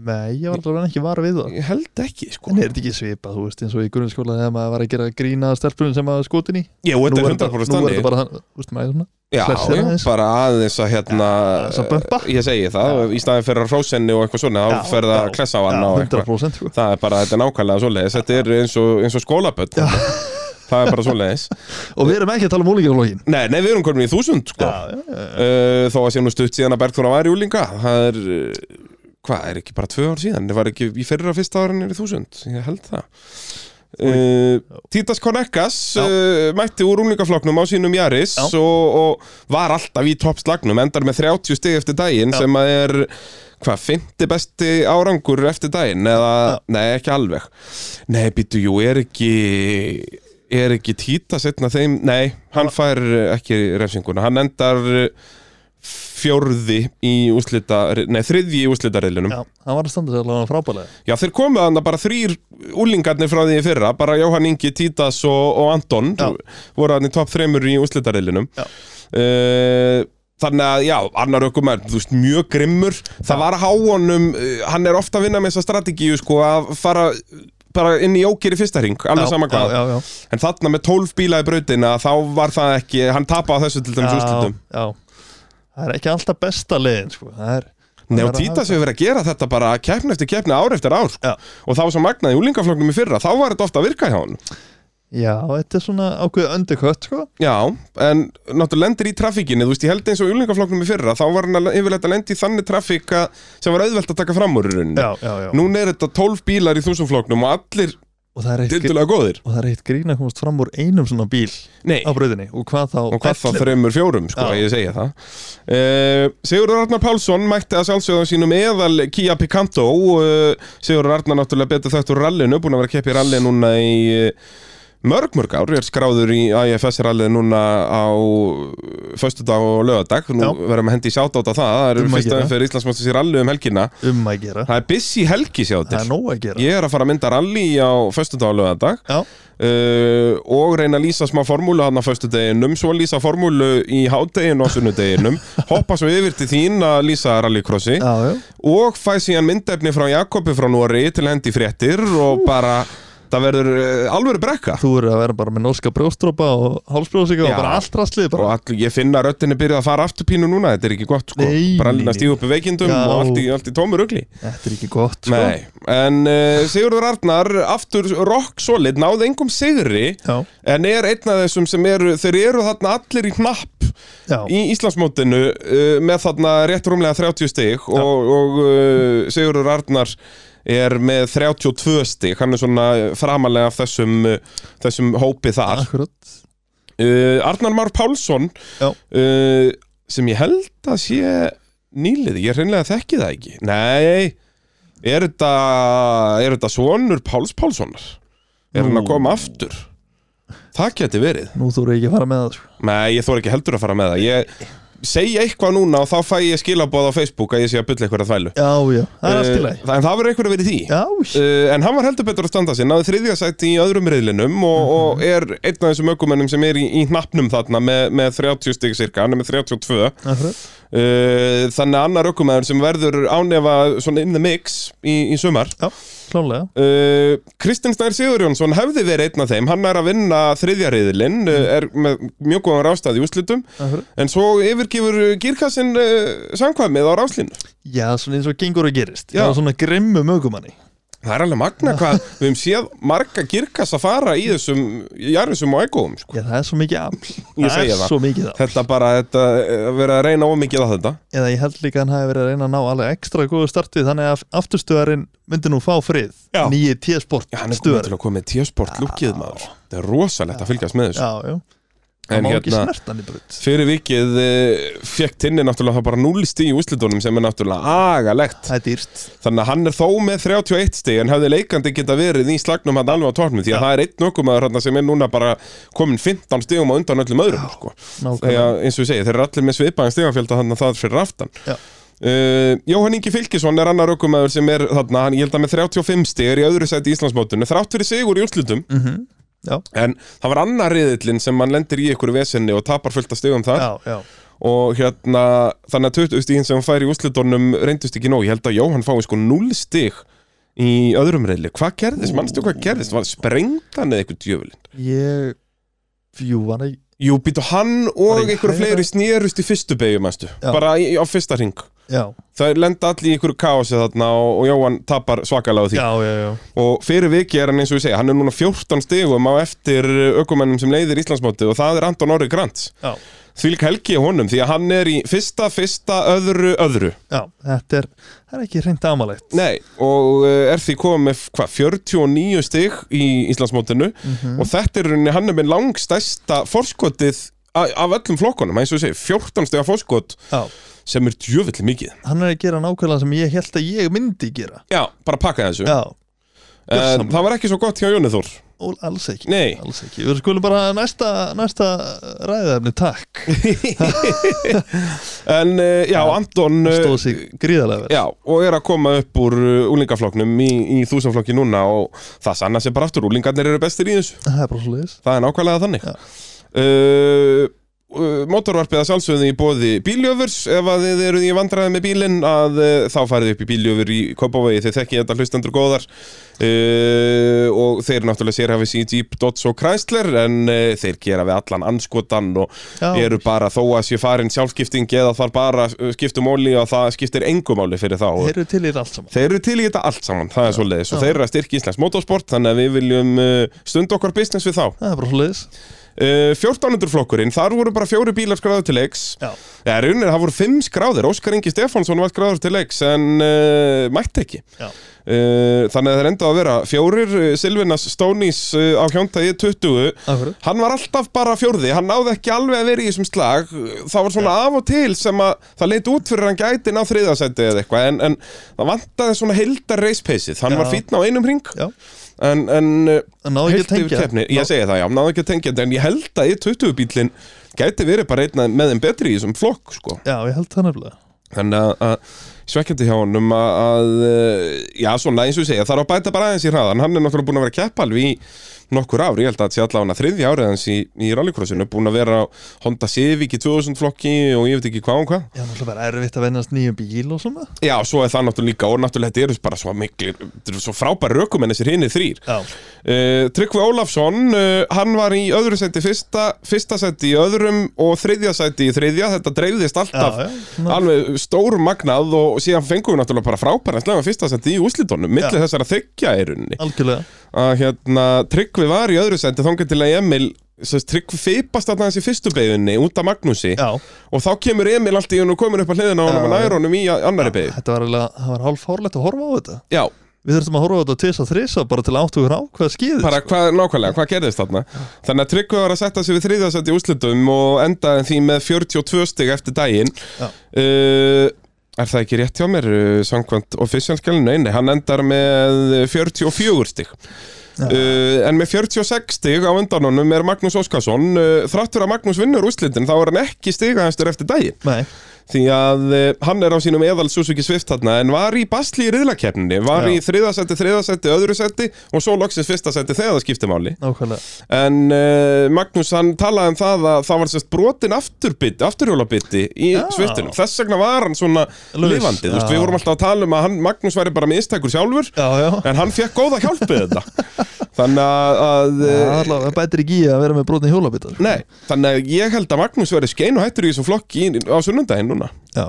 Speaker 2: nei, ég var allavega ekki var við það
Speaker 1: ég held ekki sko
Speaker 2: En er þetta ekki svipað, þú veist, eins og í grunnskóla þegar maður var að gera grína stelpunum sem maður skotin í
Speaker 1: Jú, þetta er 100%
Speaker 2: Nú er
Speaker 1: þannig
Speaker 2: þetta bara, hann- þú veist, maður er svona
Speaker 1: Já,
Speaker 2: flessir
Speaker 1: já,
Speaker 2: aðeins.
Speaker 1: bara aðeins að hérna
Speaker 2: Já, aðeins að bömpa.
Speaker 1: Ég segi það, í staðin fyrir að hrósenni og eitthvað svona
Speaker 2: Já,
Speaker 1: þá fer það
Speaker 2: já,
Speaker 1: að klessa á hann
Speaker 2: Já,
Speaker 1: og eitthvað
Speaker 2: 100% sko
Speaker 1: Það er bara, þetta er nákvæmlega svoleiðis Þetta er eins og, eins og skólaböld
Speaker 2: Já.
Speaker 1: það er bara svoleiðis
Speaker 2: og við erum ekki að tala um úlíkjaflokkin
Speaker 1: Nei, nei, við erum komin í þúsund sko.
Speaker 2: já, já, já.
Speaker 1: uh, Þó að sé nú stutt síðan að Bergþóra var í úlinga Það er, uh, hvað, er ekki bara tvö ár síðan Það var ekki í fyrra fyrsta árin er í þúsund Ég held það Uh, Títas Konekkas
Speaker 2: Já.
Speaker 1: uh, mætti úr úlingafloknum á sínum Jaris
Speaker 2: Já.
Speaker 1: og, og var alltaf í toppslagnum endar með 30 stig eftir daginn
Speaker 2: Já.
Speaker 1: sem að er hvað, 50 besti árangur eftir daginn eða, nei, ekki alveg nei, býtu, jú, er ekki er ekki Títas einn af þeim nei, hann fær uh, ekki refsinguna, hann endar uh, fjórði í úslita nei, þriðji í úslitareilunum
Speaker 2: já, hann var að standa sig allavega frábælega
Speaker 1: Já, þeir komu þannig bara þrýr úlingarnir frá því í fyrra, bara Jóhann Ingi, Títas og, og Anton
Speaker 2: Já.
Speaker 1: voru þannig topp þreymur í úslitareilinum.
Speaker 2: Já.
Speaker 1: Uh, þannig að, já, annar ökumar, þú veist, mjög grimmur. Það var að há honum, uh, hann er ofta að vinna með þessa strategíu, sko, að fara uh, bara inn í ókýri fyrsta hring, alveg
Speaker 2: Já,
Speaker 1: sama hvað.
Speaker 2: já, já, já.
Speaker 1: En þarna með 12 bíla í brautina, þá var það ekki, hann tapaði þessu til dæmis úslitum.
Speaker 2: já, já. það er ekki alltaf besta leiðin sko. það er
Speaker 1: Nei og
Speaker 2: Það er að
Speaker 1: Títas hefur verið að gera þetta bara keppni eftir keppni ár eftir ár sko.
Speaker 2: Já.
Speaker 1: og það var svo magnaði úlingafloknum í fyrra þá var þetta ofta að virka hjá hann
Speaker 2: Já, þetta er svona ákveðið undercut sko.
Speaker 1: Já, en náttúrulega lendir í trafíkinni þú veist, ég held eins og í úlingafloknum í fyrra þá var hann að- yfirleitt að lendi í þannig trafíka sem var auðvelt að taka fram úr í rauninni
Speaker 2: já, já.
Speaker 1: Núna er þetta 12 bílar í þúsumfloknum og allir
Speaker 2: Og, það er eitt,
Speaker 1: dildulega góðir
Speaker 2: og það er eitt grín að komast fram úr einum svona bíl
Speaker 1: Nei,
Speaker 2: á bröðinni og hvað þá
Speaker 1: og hvað þá
Speaker 2: ellefu?
Speaker 1: þreymur fjórum sko,
Speaker 2: Já.
Speaker 1: ég segja það uh, Sigurður Arnar Pálsson mætti að sjálfsögðum sínum eðal Kia Picanto uh, Sigurður Arnar náttúrulega betur þættur rallinu búin að vera að keppa í ralli núna í uh, mörg mörg ár, er skráður í IFS rallið núna á föstudag og lögadag, nú
Speaker 2: Já.
Speaker 1: verðum að hendi sjátt átt á það, það
Speaker 2: Um
Speaker 1: eru
Speaker 2: að
Speaker 1: fyrsta
Speaker 2: gera.
Speaker 1: umferð Íslandsmáttis í ralli um helgina
Speaker 2: um að gera
Speaker 1: það er busy helgi sjá
Speaker 2: Það
Speaker 1: til
Speaker 2: er nóg að gera
Speaker 1: ég er að fara að mynda rally á föstudag og lögadag
Speaker 2: Já,
Speaker 1: uh, og reyna að lýsa smá formúlu hann á föstudeginum, svo lýsa formúlu í hádeginu og sunnudeginum hoppa svo yfir til þín að lýsa rallycrossi
Speaker 2: já, já,
Speaker 1: og fæ síðan myndefni frá Jakobi frá Nóri til hendi fréttir og bara, það verður uh, alvöru brekka
Speaker 2: þú eru að vera bara með norska brjóstrópa og hálsbrjóðsíka og
Speaker 1: Já.
Speaker 2: bara allt rastlið
Speaker 1: og
Speaker 2: bara.
Speaker 1: all, ég finna að röttinni byrjuð að fara aftur pínu núna, þetta er ekki gott sko,
Speaker 2: Nei,
Speaker 1: brallina
Speaker 2: nei.
Speaker 1: stíð upp í veikindum
Speaker 2: Já.
Speaker 1: og allt í, allt í tómur ugli
Speaker 2: Þetta er ekki gott sko.
Speaker 1: Nei, en uh, Sigurður Arnar aftur rock solid, náði engum sigri
Speaker 2: Já,
Speaker 1: en er einn af þessum sem eru, þeir eru þarna allir í hnapp
Speaker 2: já,
Speaker 1: í Íslandsmótinu uh, með þarna rétt rúmlega 30 stig og, og uh, Sigurður Arnar er með 32 stig hann er svona framalega af þessum, uh, þessum hópi þar uh,
Speaker 2: akkurat
Speaker 1: Arnar Már Pálsson
Speaker 2: Já.
Speaker 1: uh, sem ég held að sé nýliði, ég hreinlega þekki það ekki Nei, er þetta er þetta sonur Páls Pálssonar? Er hann
Speaker 2: Nú.
Speaker 1: að koma aftur? Það geti verið
Speaker 2: Nú þú eru ekki að fara með það sko.
Speaker 1: Nei, ég þór ekki heldur að fara með það Ég segja eitthvað núna og þá fæ ég skilaboð á Facebook að ég sé að bylla eitthvað að þvælu
Speaker 2: Já, já, það er allt í
Speaker 1: Eh,
Speaker 2: lagi
Speaker 1: En það verður eitthvað að vera í því
Speaker 2: Já,
Speaker 1: Uh, en hann var heldur betur að standa sér, náði þriðja sæti í öðrum reyðlinum og,
Speaker 2: Mhm.
Speaker 1: og er einn af þessum ökumennum sem er í, í hnappnum þarna með, með 30 stig cirka, hann er með 32 uh,
Speaker 2: akkurat
Speaker 1: Eh, þannig að annar ökumennur sem verður ánefa svona in the mix í, í sumar
Speaker 2: Já, klálega
Speaker 1: Uh, Kristinn Snær Sigurjónsson hefði verið einn af þeim, hann er að vinna þriðja
Speaker 2: Mhm.
Speaker 1: reyðilinn, uh, er með mjög góðan rástað í úslitum,
Speaker 2: Akkurat.
Speaker 1: en svo yfirgefur gírkassin uh, samkvæmið á ráslínu.
Speaker 2: Já, svona eins og gengur og gerist
Speaker 1: Já.
Speaker 2: Já, svona grimmu mögumanni
Speaker 1: Það er alveg magna hvað, við hefum séð marga gírkassa fara í þessum jarðisum og egoum, sko.
Speaker 2: Já, það er svo mikið afl
Speaker 1: Ég segi
Speaker 2: er
Speaker 1: það.
Speaker 2: svo mikið afl
Speaker 1: Þetta bara, þetta, eh, verið að reyna ómikið að þetta.
Speaker 2: Eða ég held líka að hann hafi verið að reyna að ná alveg ekstra góðu startið Þannig að afturstöðarinn myndi nú fá frið
Speaker 1: Já.
Speaker 2: Nýji T-sport
Speaker 1: Já, hann er komið
Speaker 2: stöðarinn
Speaker 1: til að koma með tíasport lúkið maður. Það er rosalegt að fylgjast með þessu.
Speaker 2: Já, já,
Speaker 1: En
Speaker 2: það má ekki
Speaker 1: hérna-
Speaker 2: snert hann í brut
Speaker 1: Fyrir vikið eh, fekk tinni náttúrulega það bara núlist í úslitunum sem er náttúrulega agalegt.
Speaker 2: Það er dýrt
Speaker 1: Þannig að hann er þó með 31 stig en hefði leikandi geta verið í slagnum hann alveg á tórnum því að
Speaker 2: Já.
Speaker 1: það er einn ökumæður hann sem er núna bara komin 15 stigum á undan öllum öðrum sko.
Speaker 2: Nákvæmlega
Speaker 1: þegar eins og ég segi, þeir eru allir með svipaðan stigafjölda þannig að það er fyrir aftan
Speaker 2: Já.
Speaker 1: Uh, Jóhann Ingi Fylkisson er annar ökumæður sem er þarna, hann ég held að með 35 stig er í öðru sæti í Íslandsmótinu, þrátt fyrir sigur í úrslutum
Speaker 2: Mhm. Já,
Speaker 1: en það var annar riðillin sem hann lendir í ykkur vesenni og tapar fullt af stigum þar
Speaker 2: já, já
Speaker 1: og hérna þannig að 20 stíðin sem hann fær í úslitunum reyndust ekki nóg, ég held að Jóhann fái sko 0 stig í öðrum reyli hvað gerðist, mannstu hvað gerðist, var sprengtan eða eitthvað djöfulinn?
Speaker 2: Ég Jú, hann er
Speaker 1: Jú, býtu hann
Speaker 2: Bara
Speaker 1: og
Speaker 2: í
Speaker 1: einhverju
Speaker 2: hægra-
Speaker 1: fleiri snýrust í fyrstu beigju, mannstu,
Speaker 2: Já.
Speaker 1: bara í, á fyrsta ring
Speaker 2: Já. já,
Speaker 1: Það lenda allir í einhverju kaosi þarna og, og Jóhann tapar svakalega á því
Speaker 2: já, já, já.
Speaker 1: og fyrir viki er hann eins og ég segja, hann er núna 14 stigum á eftir ökumennum sem leiðir Íslandsmótið og það er Anton Orri Grant
Speaker 2: Já.
Speaker 1: því líka helgi á honum því að hann er í fyrsta, fyrsta, öðru, öðru
Speaker 2: já þetta er, það er ekki reynd amalegt
Speaker 1: Nei, og eh, er því komið með hva, 49 stig í Íslandsmótinu
Speaker 2: Mhm.
Speaker 1: og þetta er í rauninni hann er með langstæsta forskotið a- af öllum flokkunum, eins og ég segi 14 stiga forskot
Speaker 2: já,
Speaker 1: sem er djöfull mikið
Speaker 2: hann er að gera nákvæmlega sem ég held að ég myndi gera
Speaker 1: Já, bara pakka þessu
Speaker 2: já,
Speaker 1: en, Það var ekki svo gott hjá Jónið Þór
Speaker 2: og alls ekki
Speaker 1: Nei.
Speaker 2: alls ekki, við skulum bara næsta, næsta ræðefni, takk
Speaker 1: En eh, já, Anton eh,
Speaker 2: stóð sig gríðarlega vel
Speaker 1: Já, og er að koma upp úr úlingafloknum í, í þúsanflokki núna og það sanna sér bara aftur, úlingarnir eru bestir í þessu
Speaker 2: það er bara svo leiðis
Speaker 1: Það er nákvæmlega þannig
Speaker 2: Já.
Speaker 1: uh, uh, Mótorvarpið að sjálfsögðu í bóði bíljöfurs Ef að þið eruð í vandræði með bílinn að uh, þá farið upp í bíljöfur í Kópavogi Þið þekki þetta hlustendur góðar uh, og þeir náttúrulega sér hafið síðan Jeep, Dodge og Chrysler en uh, þeir gera við allan anskotan og
Speaker 2: Já.
Speaker 1: eru bara þó að sé farin sjálfskipting eða þar bara uh, skiptum óli og það skiptir engum óli fyrir þá
Speaker 2: þeir eru til í þetta allt saman
Speaker 1: Þeir eru til í þetta allt saman, það er svoleiðis og
Speaker 2: Já.
Speaker 1: þeir eru að styrki Íslands motorsport þannig að við viljum uh, stunda okkar business við þá
Speaker 2: það er bara svo leiðis
Speaker 1: Uh, 1400 flokkurinn, þar voru bara fjóri bílar skráður til leiks
Speaker 2: já,
Speaker 1: Já, raunir, það voru fimm skráðir, Óskar Ingi Stefánsson var skráður til leiks en uh, mætti ekki
Speaker 2: já,
Speaker 1: uh, Þannig að það er enda að vera fjórir uh, Silvinas Stónis uh, á hjóntægi 20
Speaker 2: af hverju
Speaker 1: Hann var alltaf bara fjórði, hann náði ekki alveg að vera í þessum slag Það var svona af og til sem að það leit út fyrir að hann gæti ná þriðasæti eða eitthvað En, en það vantaði svona heildar race pace-ið, hann
Speaker 2: Já.
Speaker 1: var fýtna á einum ring
Speaker 2: Já.
Speaker 1: En, en uh,
Speaker 2: En
Speaker 1: Heilt
Speaker 2: náðu ekki að
Speaker 1: yfir
Speaker 2: tengja
Speaker 1: keppni, ég segi það já, náðu ekki að tengja þetta en ég held að í 20 bílinn gæti verið bara einna með þeim betri í þessum flokk sko.
Speaker 2: Já, ég held það nefnilega
Speaker 1: þannig að, að svekkjandi hjá honum að, að eh, já svona eins og ég segja þarf að bæta bara aðeins í hraðan, hann er náttúrulega búin að vera keppa alveg í nokkur ár, ég held að það sé allavega þriðja árið hans í, í rallycrossinu, búin að vera á Honda Civic í 2000 flokki og ég veit ekki hvað og hvað
Speaker 2: Já, náttúrulega bara erfitt að vennast nýjum bíl og svona
Speaker 1: já, svo er það náttúrulega líka og náttúrulega þetta eru bara svo miklir, þetta eru svo frábæri rökumenn þessir hinni þrýr
Speaker 2: Já,
Speaker 1: Uh, Tryggvi Ólafsson, uh, hann var í öðru seti fyrsta, fyrsta seti í öðrum og þriðja seti í þriðja, þetta dreifðist alltaf
Speaker 2: Já, já, svona.
Speaker 1: alveg stór magnað og síðan fengum við náttúrulega bara frábæra slega fyrsta seti í úslitónum, milli
Speaker 2: Já.
Speaker 1: þessara þykja er unni
Speaker 2: algjörlega
Speaker 1: að hérna, Tryggvi var í öðru seti þangað til að Emil, sérst, Tryggvi feipast þarna hans í fyrstu beginni út af Magnúsi
Speaker 2: Já,
Speaker 1: og þá kemur Emil allt í hún og komur upp að hliðina á honum og
Speaker 2: Já.
Speaker 1: nær honum í annari begin
Speaker 2: þetta var alveg, það var hálf hárlegt að horfa á þetta
Speaker 1: Já,
Speaker 2: Við þurfum að horfa á þetta tvis að þrisa bara til áttu hér á hvað skýðist
Speaker 1: bara hvað, nákvæmlega, hvað gerðist þarna þannig að Tryggvi var að setja sig við þriðasett í úrslitum og endaði því með 42 stig eftir daginn
Speaker 2: Já.
Speaker 1: uh, er það ekki rétt hjá mér uh, samkvæmt officialskjálinu, nei, nei, hann endar með 44 stig
Speaker 2: Já.
Speaker 1: Uh, en með 46 stig á undanunum er Magnús Óskarsson uh, þráttur að Magnús vinnur úrslitin þá er hann ekki stigaðastur eftir daginn
Speaker 2: Nei,
Speaker 1: því að uh, hann er á sínum eðal Suzuki Swift þarna en var í basli í riðlakeppninni var
Speaker 2: Já.
Speaker 1: í þriðasetti, þriðasetti, öðru setti og svo loksins fyrsta setti þegar það skipti máli
Speaker 2: nákvæmlega
Speaker 1: En uh, Magnús hann talaði um það að það var sérst brotin afturbytti, afturhjólabytti í
Speaker 2: Já.
Speaker 1: sviftinum. Þess vegna var hann svona
Speaker 2: Laus,
Speaker 1: lifandi. Þú veist,
Speaker 2: já.
Speaker 1: við vorum alltaf að tala um að hann, Magnús væri bara með istækur sjálfur,
Speaker 2: Já, já
Speaker 1: en hann fekk góða hjálpið þetta. Þannig að, að
Speaker 2: Það er
Speaker 1: eh,
Speaker 2: allavega það bætir ekki í að vera með brotni hjólabitar
Speaker 1: nei, þannig að ég held að Magnús væri skein og hættur í þessum flokki í- á sunnundaginn núna.
Speaker 2: Já,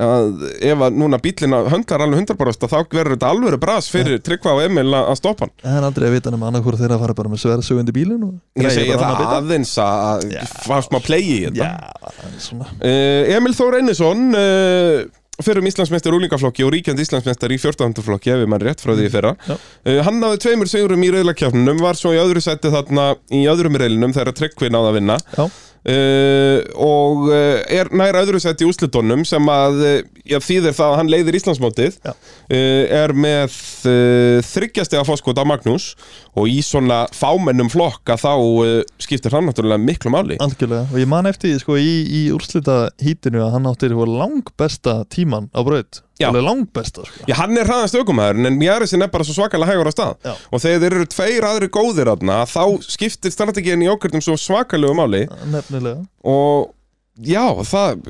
Speaker 1: Að ef að núna bílina höndlar alveg 100% þá verður þetta alvöru bras fyrir Tryggva og Emil að að stoppa hann.
Speaker 2: það er aldrei að vita nema annað hvort þeirra fara bara með sverðsugandi bílin og
Speaker 1: Ég
Speaker 2: græja
Speaker 1: segi
Speaker 2: bara
Speaker 1: það
Speaker 2: annað bita.
Speaker 1: aðeins að
Speaker 2: Já.
Speaker 1: fá smá play í þetta.
Speaker 2: Já, það er svona
Speaker 1: Uh, Emil Þór Einarsson uh, fyrir um Íslandsmeistar úlingaflokki og ríkjandi Íslandsmeistar í 14. flokki ef við mann rétt frá því í fyrra
Speaker 2: Já.
Speaker 1: uh, hann náði tveimur sigurum í reyðlakjafnunum var svo í öðru sæti þarna í öðrum reylinum þegar Tryggvi náði að vinna
Speaker 2: Já,
Speaker 1: uh, og uh, er nær öðru sæti í úslitónum sem að uh, já, þýðir það að hann leiðir Íslandsmótið
Speaker 2: Já.
Speaker 1: uh, er með uh, þryggjastega fóskot af Magnús og í svona fámennum flokka þá uh, skiptir hann náttúrulega miklu máli
Speaker 2: algjörlega Og ég man eftir því sko í, í úrslita hítinu að hann áttir langbesta tíman á braut
Speaker 1: Já.
Speaker 2: Alveg Langbesta sko
Speaker 1: Já, hann er hraðast ökumæður, en Jarrisin er bara svo svakalega hægur á stað.
Speaker 2: Já.
Speaker 1: Og þegar þeir eru tveir aðri góðir aðna, þá skiptir strategin í okkurðum svo svakalegu máli.
Speaker 2: Nefnilega
Speaker 1: Og eh, já, það,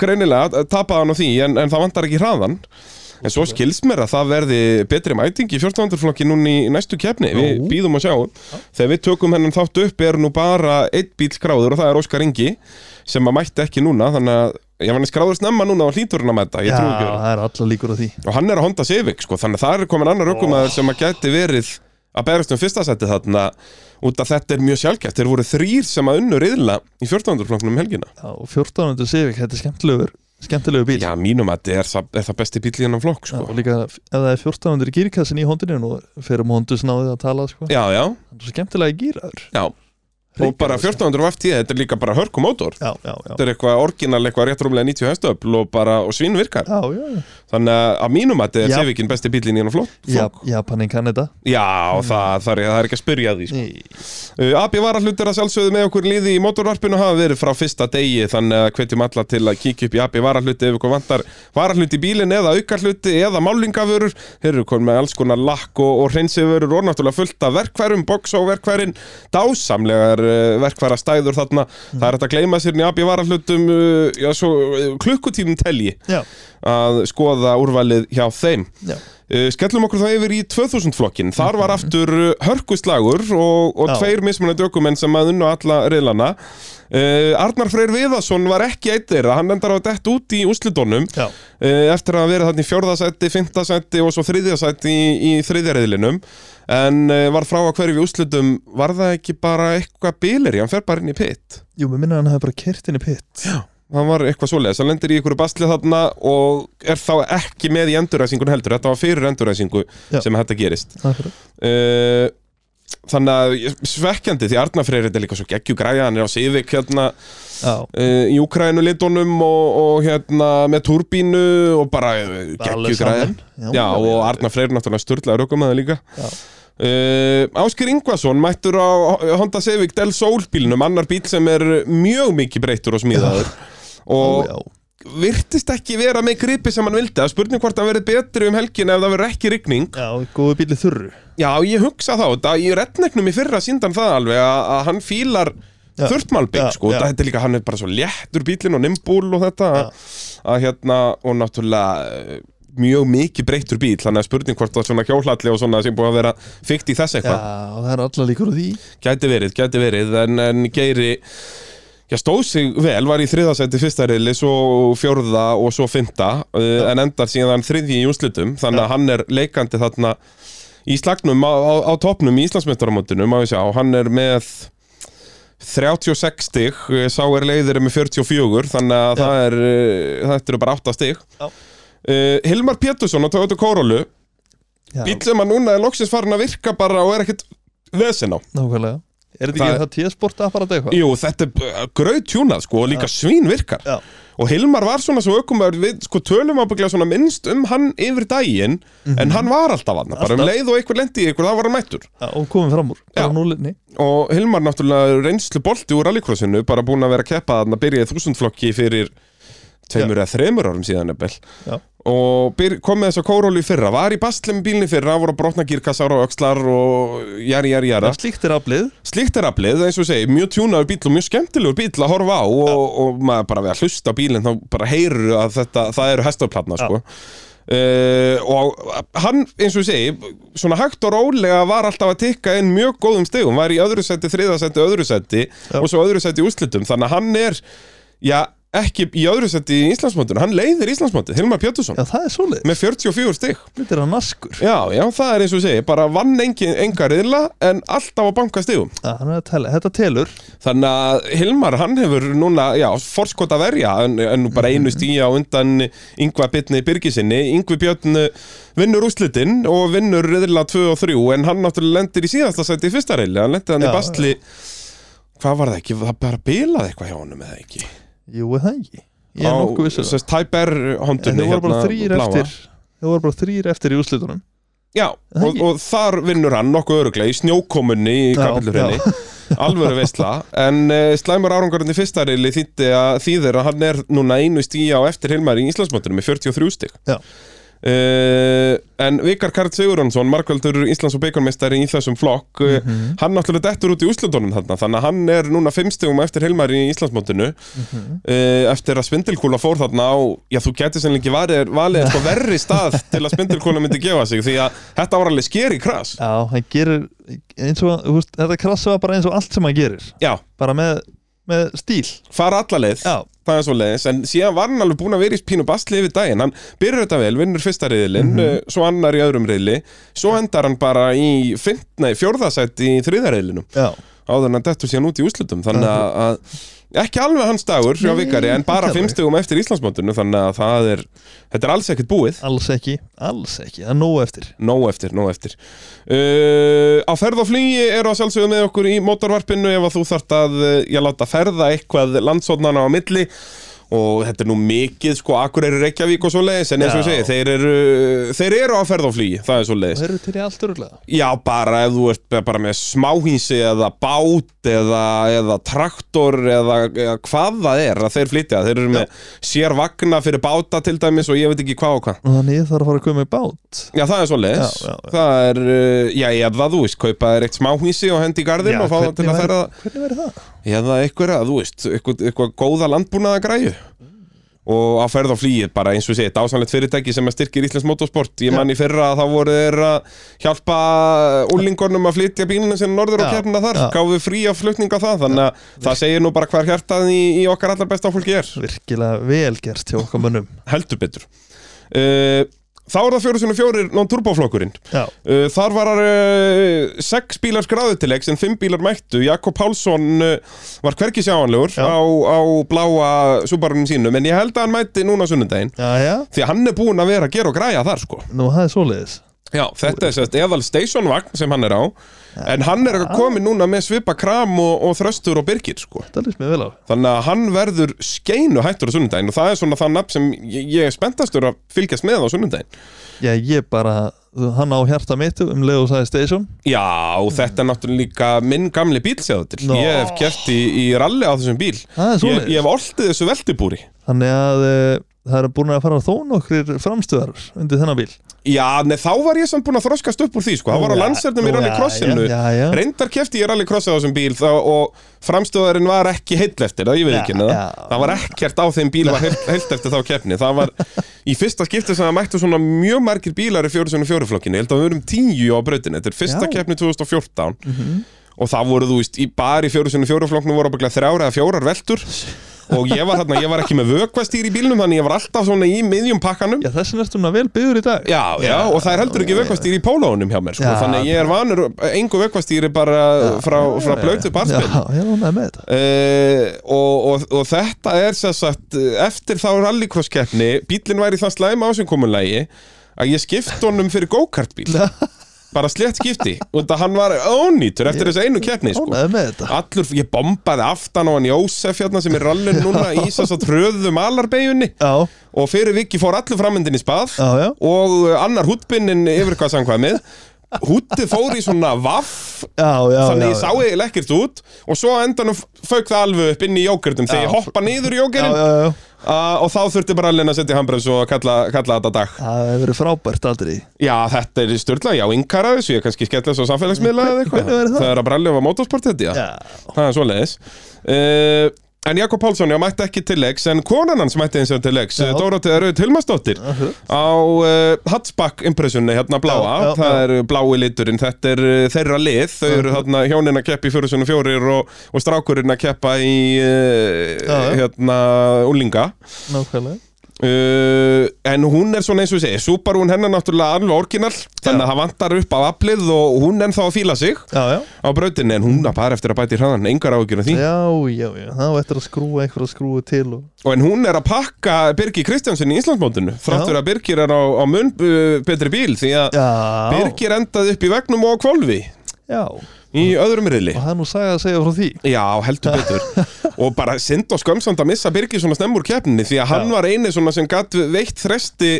Speaker 1: greinilega, tapaði hann á því, en, en það vantar ekki hraðan. En svo skilst mér að það verði betri mæting í 14. flokki núna í næstu kefni Við
Speaker 2: Jú.
Speaker 1: býðum að sjá Þegar við tökum hennan þátt upp er nú bara einn bíl skráður og það er Óskar Ingi sem að mætti ekki núna þannig að ég var hann er skráður snemma núna og hlýtur hann að mæta ég
Speaker 2: Já,
Speaker 1: trúi ekki öðru.
Speaker 2: það er allar líkur á því
Speaker 1: og hann er að Honda Civic sko, þannig að það er komin annar ökumæður sem að geti verið að berast um fyrsta seti þarna út að þetta er mjög sjálfgæft, þeir voru þrýr sem að unnu riðla í 14. flokknum um helgina
Speaker 2: Já, og 14. Civic, þetta er skemmtilegur skemmtilegur bíl
Speaker 1: Já, mínum að þetta er, það- er það besti bíl í hennan flokk
Speaker 2: Já,
Speaker 1: sko.
Speaker 2: og líka ef það er 1400 gýrkassin í hóndinu nú fyrir um hóndu snáðið að tala sko.
Speaker 1: Já, já,
Speaker 2: hann er svo skemmtilega gýraður
Speaker 1: já Og bara 1400 FT, þetta er líka bara hörkumótor
Speaker 2: já, já, já.
Speaker 1: Þetta er eitthvað orginal, eitthvað rétt rúmlega 90 hestöfl og bara, og svín virkar
Speaker 2: já, já, já.
Speaker 1: Þannig að að mínum að þetta er
Speaker 2: Já.
Speaker 1: Civicin besti bílinn í hennan flokk
Speaker 2: Já, Japanin kann þetta
Speaker 1: Já, það, það, er, það er ekki að spyrja að því sko.
Speaker 2: Nei.
Speaker 1: Uh, Abbi Varahlutur að sjálfsögðu með okkur í liði í mótorvarpinu hafa verið frá fyrsta degi þannig að hvetjum alla til að kíkja upp í Abbi Varahluti ef ykkur vantar varahluti í bílinn eða aukarhluti eða málingavörur þeir eru komin með alls konar lakk og, og hreinsivörur og náttúrulega fullt af verkværum box og verkværin, dásamlegar uh, verkværa stæður þarna það er hægt að gleyma sér í Abbi Varahlutum uh, já, svo, uh, klukkutímum telji
Speaker 2: já,
Speaker 1: að skoða úrvalið hjá þeim
Speaker 2: já,
Speaker 1: Uh, Skellum okkur þá yfir í 2000 flokkin Þar var aftur uh, hörkuslagur og, og
Speaker 2: Mhm. Já.
Speaker 1: tveir mismunandi ökumenn sem að unnu alla reilana uh, Arnar Freyr Viðarsson var ekki eitt þeirra Hann endar á að dett út í úslitónum uh,
Speaker 2: já,
Speaker 1: Eftir að vera þannig í fjórðasætti, fimmtasætti og svo þriðjasætti í, í þriðjareðlinum En uh, var frá að hverju í úslitum Var það ekki bara eitthvað bilir í Hann fer bara inn í pitt
Speaker 2: jú, mér minna að hann hafi bara kert inn í pitt já,
Speaker 1: Hann var eitthvað svoleiðis, hann lendir í ykkur basli þarna og er þá ekki með í endurræsingun heldur, þetta var fyrir endurræsingu
Speaker 2: Já.
Speaker 1: sem þetta gerist
Speaker 2: já,
Speaker 1: Uh, þannig að ég- svekkjandi því Arnar Freyr þetta er líka svo geggju græja hann er á Sivik hérna uh, í Ukrænu litunum og, og hérna með turbínu og bara uh, geggju græja
Speaker 2: já,
Speaker 1: Já, og Arnar Freyr náttúrulega sturlaður okkur með það líka
Speaker 2: Já.
Speaker 1: Uh, Ásker Ingvason mættur á Honda Civic Del Sol bílnum annar bíl sem er mjög mikið breyttur og smíðaður og
Speaker 2: já, já,
Speaker 1: virtist ekki vera með gripi sem hann vildi að spurning hvort hann verið betri um helgin ef það verið ekki rigning
Speaker 2: já, góðu bíli þurru
Speaker 1: Já, ég hugsa þá, þetta í retneknum í fyrra síndan það alveg að, að hann fílar
Speaker 2: Já.
Speaker 1: þurftmálbygg,
Speaker 2: Já,
Speaker 1: sko,
Speaker 2: já.
Speaker 1: þetta er líka hann er bara svo léttur bílinn og nimbúl og þetta
Speaker 2: Já.
Speaker 1: að, að hérna, og náttúrulega eh, mjög mikið breyttur bíl, þannig að spurning hvort það svona hjólalli og svona sem búið að vera fykt í þess
Speaker 2: já,
Speaker 1: eitthvað,
Speaker 2: það er allar líkur á því
Speaker 1: gæti verið, gæti verið en, en Geiri, já, stóð sig vel, var í þriðasætti fyrsta reyli svo fjórða og svo fymta uh, en endar síðan þriðji í úslitum þannig að hann er leikandi þarna í slagnum á, á, á topnum í Íslandsmyndaramótinu, má ég sjá, hann er með 36 stig, eh, sá er leiðir með 44, þannig að
Speaker 2: Já.
Speaker 1: það er, eh, þetta eru bara 8 stig.
Speaker 2: Já.
Speaker 1: Uh, Hilmar Pétursson á Toyota Corolla,
Speaker 2: já,
Speaker 1: bíl sem að núna er loksins farin að virka bara og er ekkert vesen á.
Speaker 2: nákvæmlega er þetta
Speaker 1: Það-
Speaker 2: ekki það T-sport apparat eitthvað?
Speaker 1: Jú, þetta er gröð tjúnað sko og líka svín virkar
Speaker 2: Já.
Speaker 1: og Hilmar var svona svo ökumar við sko tölum ábygglega svona minnst um hann yfir daginn en hann var alltaf hann bara um
Speaker 2: Mhm. Alltaf.
Speaker 1: leið og einhver lendi í einhver þá var hann mættur
Speaker 2: Já, og komum fram úr,
Speaker 1: Já.
Speaker 2: bara núlinni
Speaker 1: og Hilmar náttúrulega reynslu bolti úr rallycrossinu bara búin að vera að keppa þarna byrjaði þúsundflokki fyrir tveimur eða þremur árum síðan ebbel
Speaker 2: Já.
Speaker 1: og byr, kom með þess að kórólu í fyrra var í basli með bílni fyrra, voru að brotna gírkassar og öxlar og jari, jari, jara
Speaker 2: En slíkt er aflið
Speaker 1: slíkt er aflið, eins og ég segi, mjög tjúnaður bíl og mjög skemmtilegur bíl að horfa á og, og maður bara við að hlusta á bílinn þá bara heyrur að þetta, það eru hestaplatna
Speaker 2: Já.
Speaker 1: sko. uh, og hann, eins og ég segi svona hægt og rólega var alltaf að tikka inn mjög góðum stegum, var í öðru seti, þriða seti, öðru seti
Speaker 2: Já.
Speaker 1: og svo öðru seti í úrslitum, þannig að hann er já, ekki í öðru seti í Íslandsmótinu, hann leiðir Íslandsmótið, Hilmar Pjötusson
Speaker 2: Já, það er svoleið,
Speaker 1: með 44 stig
Speaker 2: þetta er hann askur
Speaker 1: Já, já, það er eins og ég segi, bara vann engin, enga riðla en alltaf að banka stigum
Speaker 2: Já, hann er að tella, þetta telur
Speaker 1: Þannig að Hilmar, hann hefur núna, já, forskot að verja en, en nú bara
Speaker 2: Mhm.
Speaker 1: einu stíja á undan Yngva Bitni Birgisinni, Yngvi Björn eh, vinnur úslitinn og vinnur riðla 2 og 3 en hann náttúrulega lendir í síðasta sæti í fyrsta reyli, hann lendir hann
Speaker 2: Já,
Speaker 1: í bastli hvað var það ekki, það bara bilaði eitthvað hjá honum eða ekki
Speaker 2: Jú, er það ekki Ég er nokkuð vissur
Speaker 1: Sess Tæper hérna
Speaker 2: En
Speaker 1: hondunni
Speaker 2: þau voru bara þrýr eftir Þau voru bara þrýr eftir í úrslitunum
Speaker 1: Já,
Speaker 2: Það
Speaker 1: og,
Speaker 2: ekki?
Speaker 1: og þar vinnur hann nokkuð öruglega í snjókomunni í
Speaker 2: Já,
Speaker 1: kapillurhenni alvöru veistla en uh, slæmur árangurinn í fyrsta reyli þýtti að þýðir að hann er núna einu stíja á eftir Hilmar í Íslandsmótinu með 43 stig
Speaker 2: Já.
Speaker 1: Eh, En Vikar Karl Sigurjónsson, markvældur Íslands og beikonmeistari í þessum flokk mm
Speaker 2: Mhm.
Speaker 1: Hann náttúrulega dettur út í úslutunum þarna Þannig að hann er núna fimmstegum eftir Hilmar í Íslandsmótinu
Speaker 2: Mhm.
Speaker 1: uh, Eftir að spindilkúla fór þarna á Já, þú getur sem lengi valið, valið sko verri stað Til að spindilkúla myndi gefa sig Því að þetta var alveg skeri krass
Speaker 2: Já, hann gerir eins og, þú veist, þetta krassa var bara eins og allt sem hann gerir
Speaker 1: Já,
Speaker 2: bara með, með stíl
Speaker 1: fara alla leið
Speaker 2: Já,
Speaker 1: það er svo leiðis, en síðan var hann alveg búin að vera í pínu basli yfir daginn, hann byrjar þetta vel vinnur fyrsta reyðilinn,
Speaker 2: Mhm.
Speaker 1: mm svo annar í öðrum reyðli svo endar hann bara í fimt, nei, fjórðasætt í þriðja reyðlinum
Speaker 2: já,
Speaker 1: áður en hann dettur síðan út í úslutum þannig að, að ekki alveg hans dagur hjá
Speaker 2: Nei,
Speaker 1: vikari, en
Speaker 2: ekki
Speaker 1: bara
Speaker 2: alveg.
Speaker 1: fimmstugum eftir Íslandsmótinu, þannig að það er þetta er alls ekkert búið,
Speaker 2: alls ekki alls ekki, það er nóg eftir
Speaker 1: nóg eftir, nóg eftir uh, á ferð og flugi eru að sjálfsögðu með okkur í mótorvarpinu ef að þú þart að, eh, ég láta ferða eitthvað landsóðnana á milli og þetta er nú mikið sko Akureyri Reykjavík og svo leiðis en eins og ég
Speaker 2: Já.
Speaker 1: segi, þeir eru, þeir eru á ferð og flýi það er svo leiðis
Speaker 2: Það eru til í allt örgulega
Speaker 1: Já, bara ef þú ert be- bara með smáhýnsi eða bát eða, eða traktor eða, eða hvað það er að þeir flytja þeir eru með sér vagna fyrir báta til dæmis og ég veit ekki hvað og hvað
Speaker 2: og þannig ég þarf að fara að koma í bát
Speaker 1: Já, það er svo leiðis
Speaker 2: Já, já, já.
Speaker 1: Það er, uh, já, ég að það, þú veist, kaupa þér eitt smáhýnsi og hendi í garðin og fá það til að
Speaker 2: væri-
Speaker 1: ferða
Speaker 2: hvernig verður það?
Speaker 1: eða einhverja, þú veist, eitthvað, eitthvað góða landbúnaða græju og að ferð á flýið bara eins og sé, dásanlegt fyrirtæki sem að styrkir Íslands motorsport ég mann í fyrra að það voru þeir að hjálpa úlingunum að flytja bílina sinna norður og
Speaker 2: Já,
Speaker 1: kjærna þar,
Speaker 2: já.
Speaker 1: gáfu frí af flutninga það, þannig að það segir nú bara hver hjartað í, í okkar allar besta fólki er
Speaker 2: virkilega vel gert hjá okkar mönnum
Speaker 1: heldur betur uh, Þá er það 404 non-turboflokkurinn
Speaker 2: já,
Speaker 1: Uh, Þar var uh, sex bílar skráðu til leiks en fimm bílar mættu Jakob Pálsson uh, var hverki sjáanlegur
Speaker 2: Já.
Speaker 1: á, á bláa Subarunum sínum en ég held að hann mætti núna sunnundaginn
Speaker 2: já, já,
Speaker 1: því að hann er búinn að vera að gera og græja þar sko
Speaker 2: nú það er svoleiðis
Speaker 1: Já, þetta er sérst eðal stationvagn sem hann er á en hann er komin núna með svipa kram og, og þröstur og byrgir sko
Speaker 2: það lýst mér vel á
Speaker 1: þannig að hann verður skeinu hættur á sunnundaginn og það er svona það nafn sem ég, ég er spenntastur að fylgjast með á sunnundaginn
Speaker 2: já, ég bara, hann á hjarta mitt um leið og sagði station
Speaker 1: Já,
Speaker 2: Mm.
Speaker 1: þetta er náttúrulega líka minn gamli bíl séð þetta.
Speaker 2: Nó.
Speaker 1: Ég hef kert í, í ralli á þessum bíl.
Speaker 2: það er
Speaker 1: Ég,
Speaker 2: svoleiðis
Speaker 1: ég hef oltið þessu veltibúri.
Speaker 2: þannig að e, það eru búin að fara þó nokkrir framstöðar undir þennan bíl
Speaker 1: Já, nei, þá var ég samt búinn að þroskast upp úr því, sko. Það var á
Speaker 2: Já,
Speaker 1: landsernum í
Speaker 2: já,
Speaker 1: rallycrossinu.
Speaker 2: já, já, já.
Speaker 1: Reyndar kefti ég rallycrossi á þessum bíl þá, og framstöðarinn var ekki heill eftir það, ég veit ekki
Speaker 2: Já,
Speaker 1: neða.
Speaker 2: já.
Speaker 1: Það var ekkert á þeim bíl var heill, heill eftir þá keppni. Það var í fyrsta skipti sem það mættu svona mjög margir bílar í 404 flokkinu. Ég held að við erum tíu á brautinni. Þetta er fyrsta
Speaker 2: Já. Mhm.
Speaker 1: keppni 2014. og það voru, þú veist, í bar í fjóru sinni fjóru flokknum voru ábygglega þrjár eða fjórar veldur og ég var þarna, ég var ekki með vökvastýr í bílnum þannig ég var alltaf svona í miðjum pakkanum
Speaker 2: já, þessin ertu núna vel byggður í dag
Speaker 1: Já, já,
Speaker 2: Já,
Speaker 1: og það er heldur ekki
Speaker 2: já, já.
Speaker 1: vökkvastýr í pólóunum hjá mér sko.
Speaker 2: Já.
Speaker 1: þannig að ég er vanur, engu vökkvastýri bara frá, frá blöytu barspil
Speaker 2: já, ég er ánægð með þetta
Speaker 1: Uh, og, og, og þetta er sem sagt, eh, eftir þá rallycross keppni bílinn væri í það slæma ásinkomunlægi að ég skipti honum fyrir go-kart bíl bara slétt skipti og þetta hann var ónýtur eftir þess einu keppni sko.
Speaker 2: ánægð með þetta
Speaker 1: Allur, ég bombaði aftan á hann Jósef hérna sem er rallin núna í þess að tröðu malarbeginni
Speaker 2: já,
Speaker 1: og fyrir viki fór allur framöndin í spað
Speaker 2: já, já
Speaker 1: og uh, annar húttbinnin yfir hvað samkvæmið húttið fór í svona vaff
Speaker 2: Já, já,
Speaker 1: þannig
Speaker 2: já,
Speaker 1: ég sá eiginlega ekkert út og svo á endanum fauk það alveg upp inn í jókertum þegar ég
Speaker 2: Já.
Speaker 1: hoppa niður í
Speaker 2: já,
Speaker 1: jókerinn
Speaker 2: já, já.
Speaker 1: uh, og þá þurfti bara alveg að setja handbremsu og kalla, kalla þetta dag
Speaker 2: Það hefur verið frábært aldrei
Speaker 1: Já, þetta er störla, já, yngara þessu ég kannski skella þessu á samfélagsmiðla eða eitthvað
Speaker 2: Hvernig væri það?
Speaker 1: það er að bralja á motorsport þetta,
Speaker 2: Já,
Speaker 1: Það er svoleiðis uh, En Jakob Pálsson, já, mætti ekki til leiks En konan hans mætti eins og til leiks eh,
Speaker 2: Já.
Speaker 1: Dórótið Rauð Tilmasdóttir Á uh, Hatsbakk impressunni hérna bláa
Speaker 2: Já, já,
Speaker 1: Það
Speaker 2: já.
Speaker 1: er blái liturinn, þetta er uh, þeirra lið Þau eru þarna hjónin að keppa í 404 og, og strákurinn að keppa í uh,
Speaker 2: Já, já.
Speaker 1: Hérna, úlinga
Speaker 2: nákvæmlega
Speaker 1: Uh, en hún er svona eins og ég segi Subaru hún hennar náttúrulega alveg orginal Þannig að það vantar upp á aflið og hún ennþá að fíla sig
Speaker 2: Já, já,
Speaker 1: á brautinni En hún að bara eftir að bæti hraðan Engar áhyggjur af því
Speaker 2: já, já, já Það var eftir að skrúa einhver að skrúa til og...
Speaker 1: Og en hún er að pakka Birgi Kristjánsson í Íslandsmótinu Þráttur
Speaker 2: Já.
Speaker 1: að Birgir er á, á mun uh, betri bíl Því að
Speaker 2: Já,
Speaker 1: Birgir endaði upp í vegnum og á kvolfi
Speaker 2: já
Speaker 1: Í öðrum riðli
Speaker 2: Og það er nú sagði að segja frá því
Speaker 1: Já, heldur betur Og bara synd og skömsamt að missa Birgi svona snemmur keppni Því að hann
Speaker 2: Já.
Speaker 1: var eini svona sem gatt veitt þresti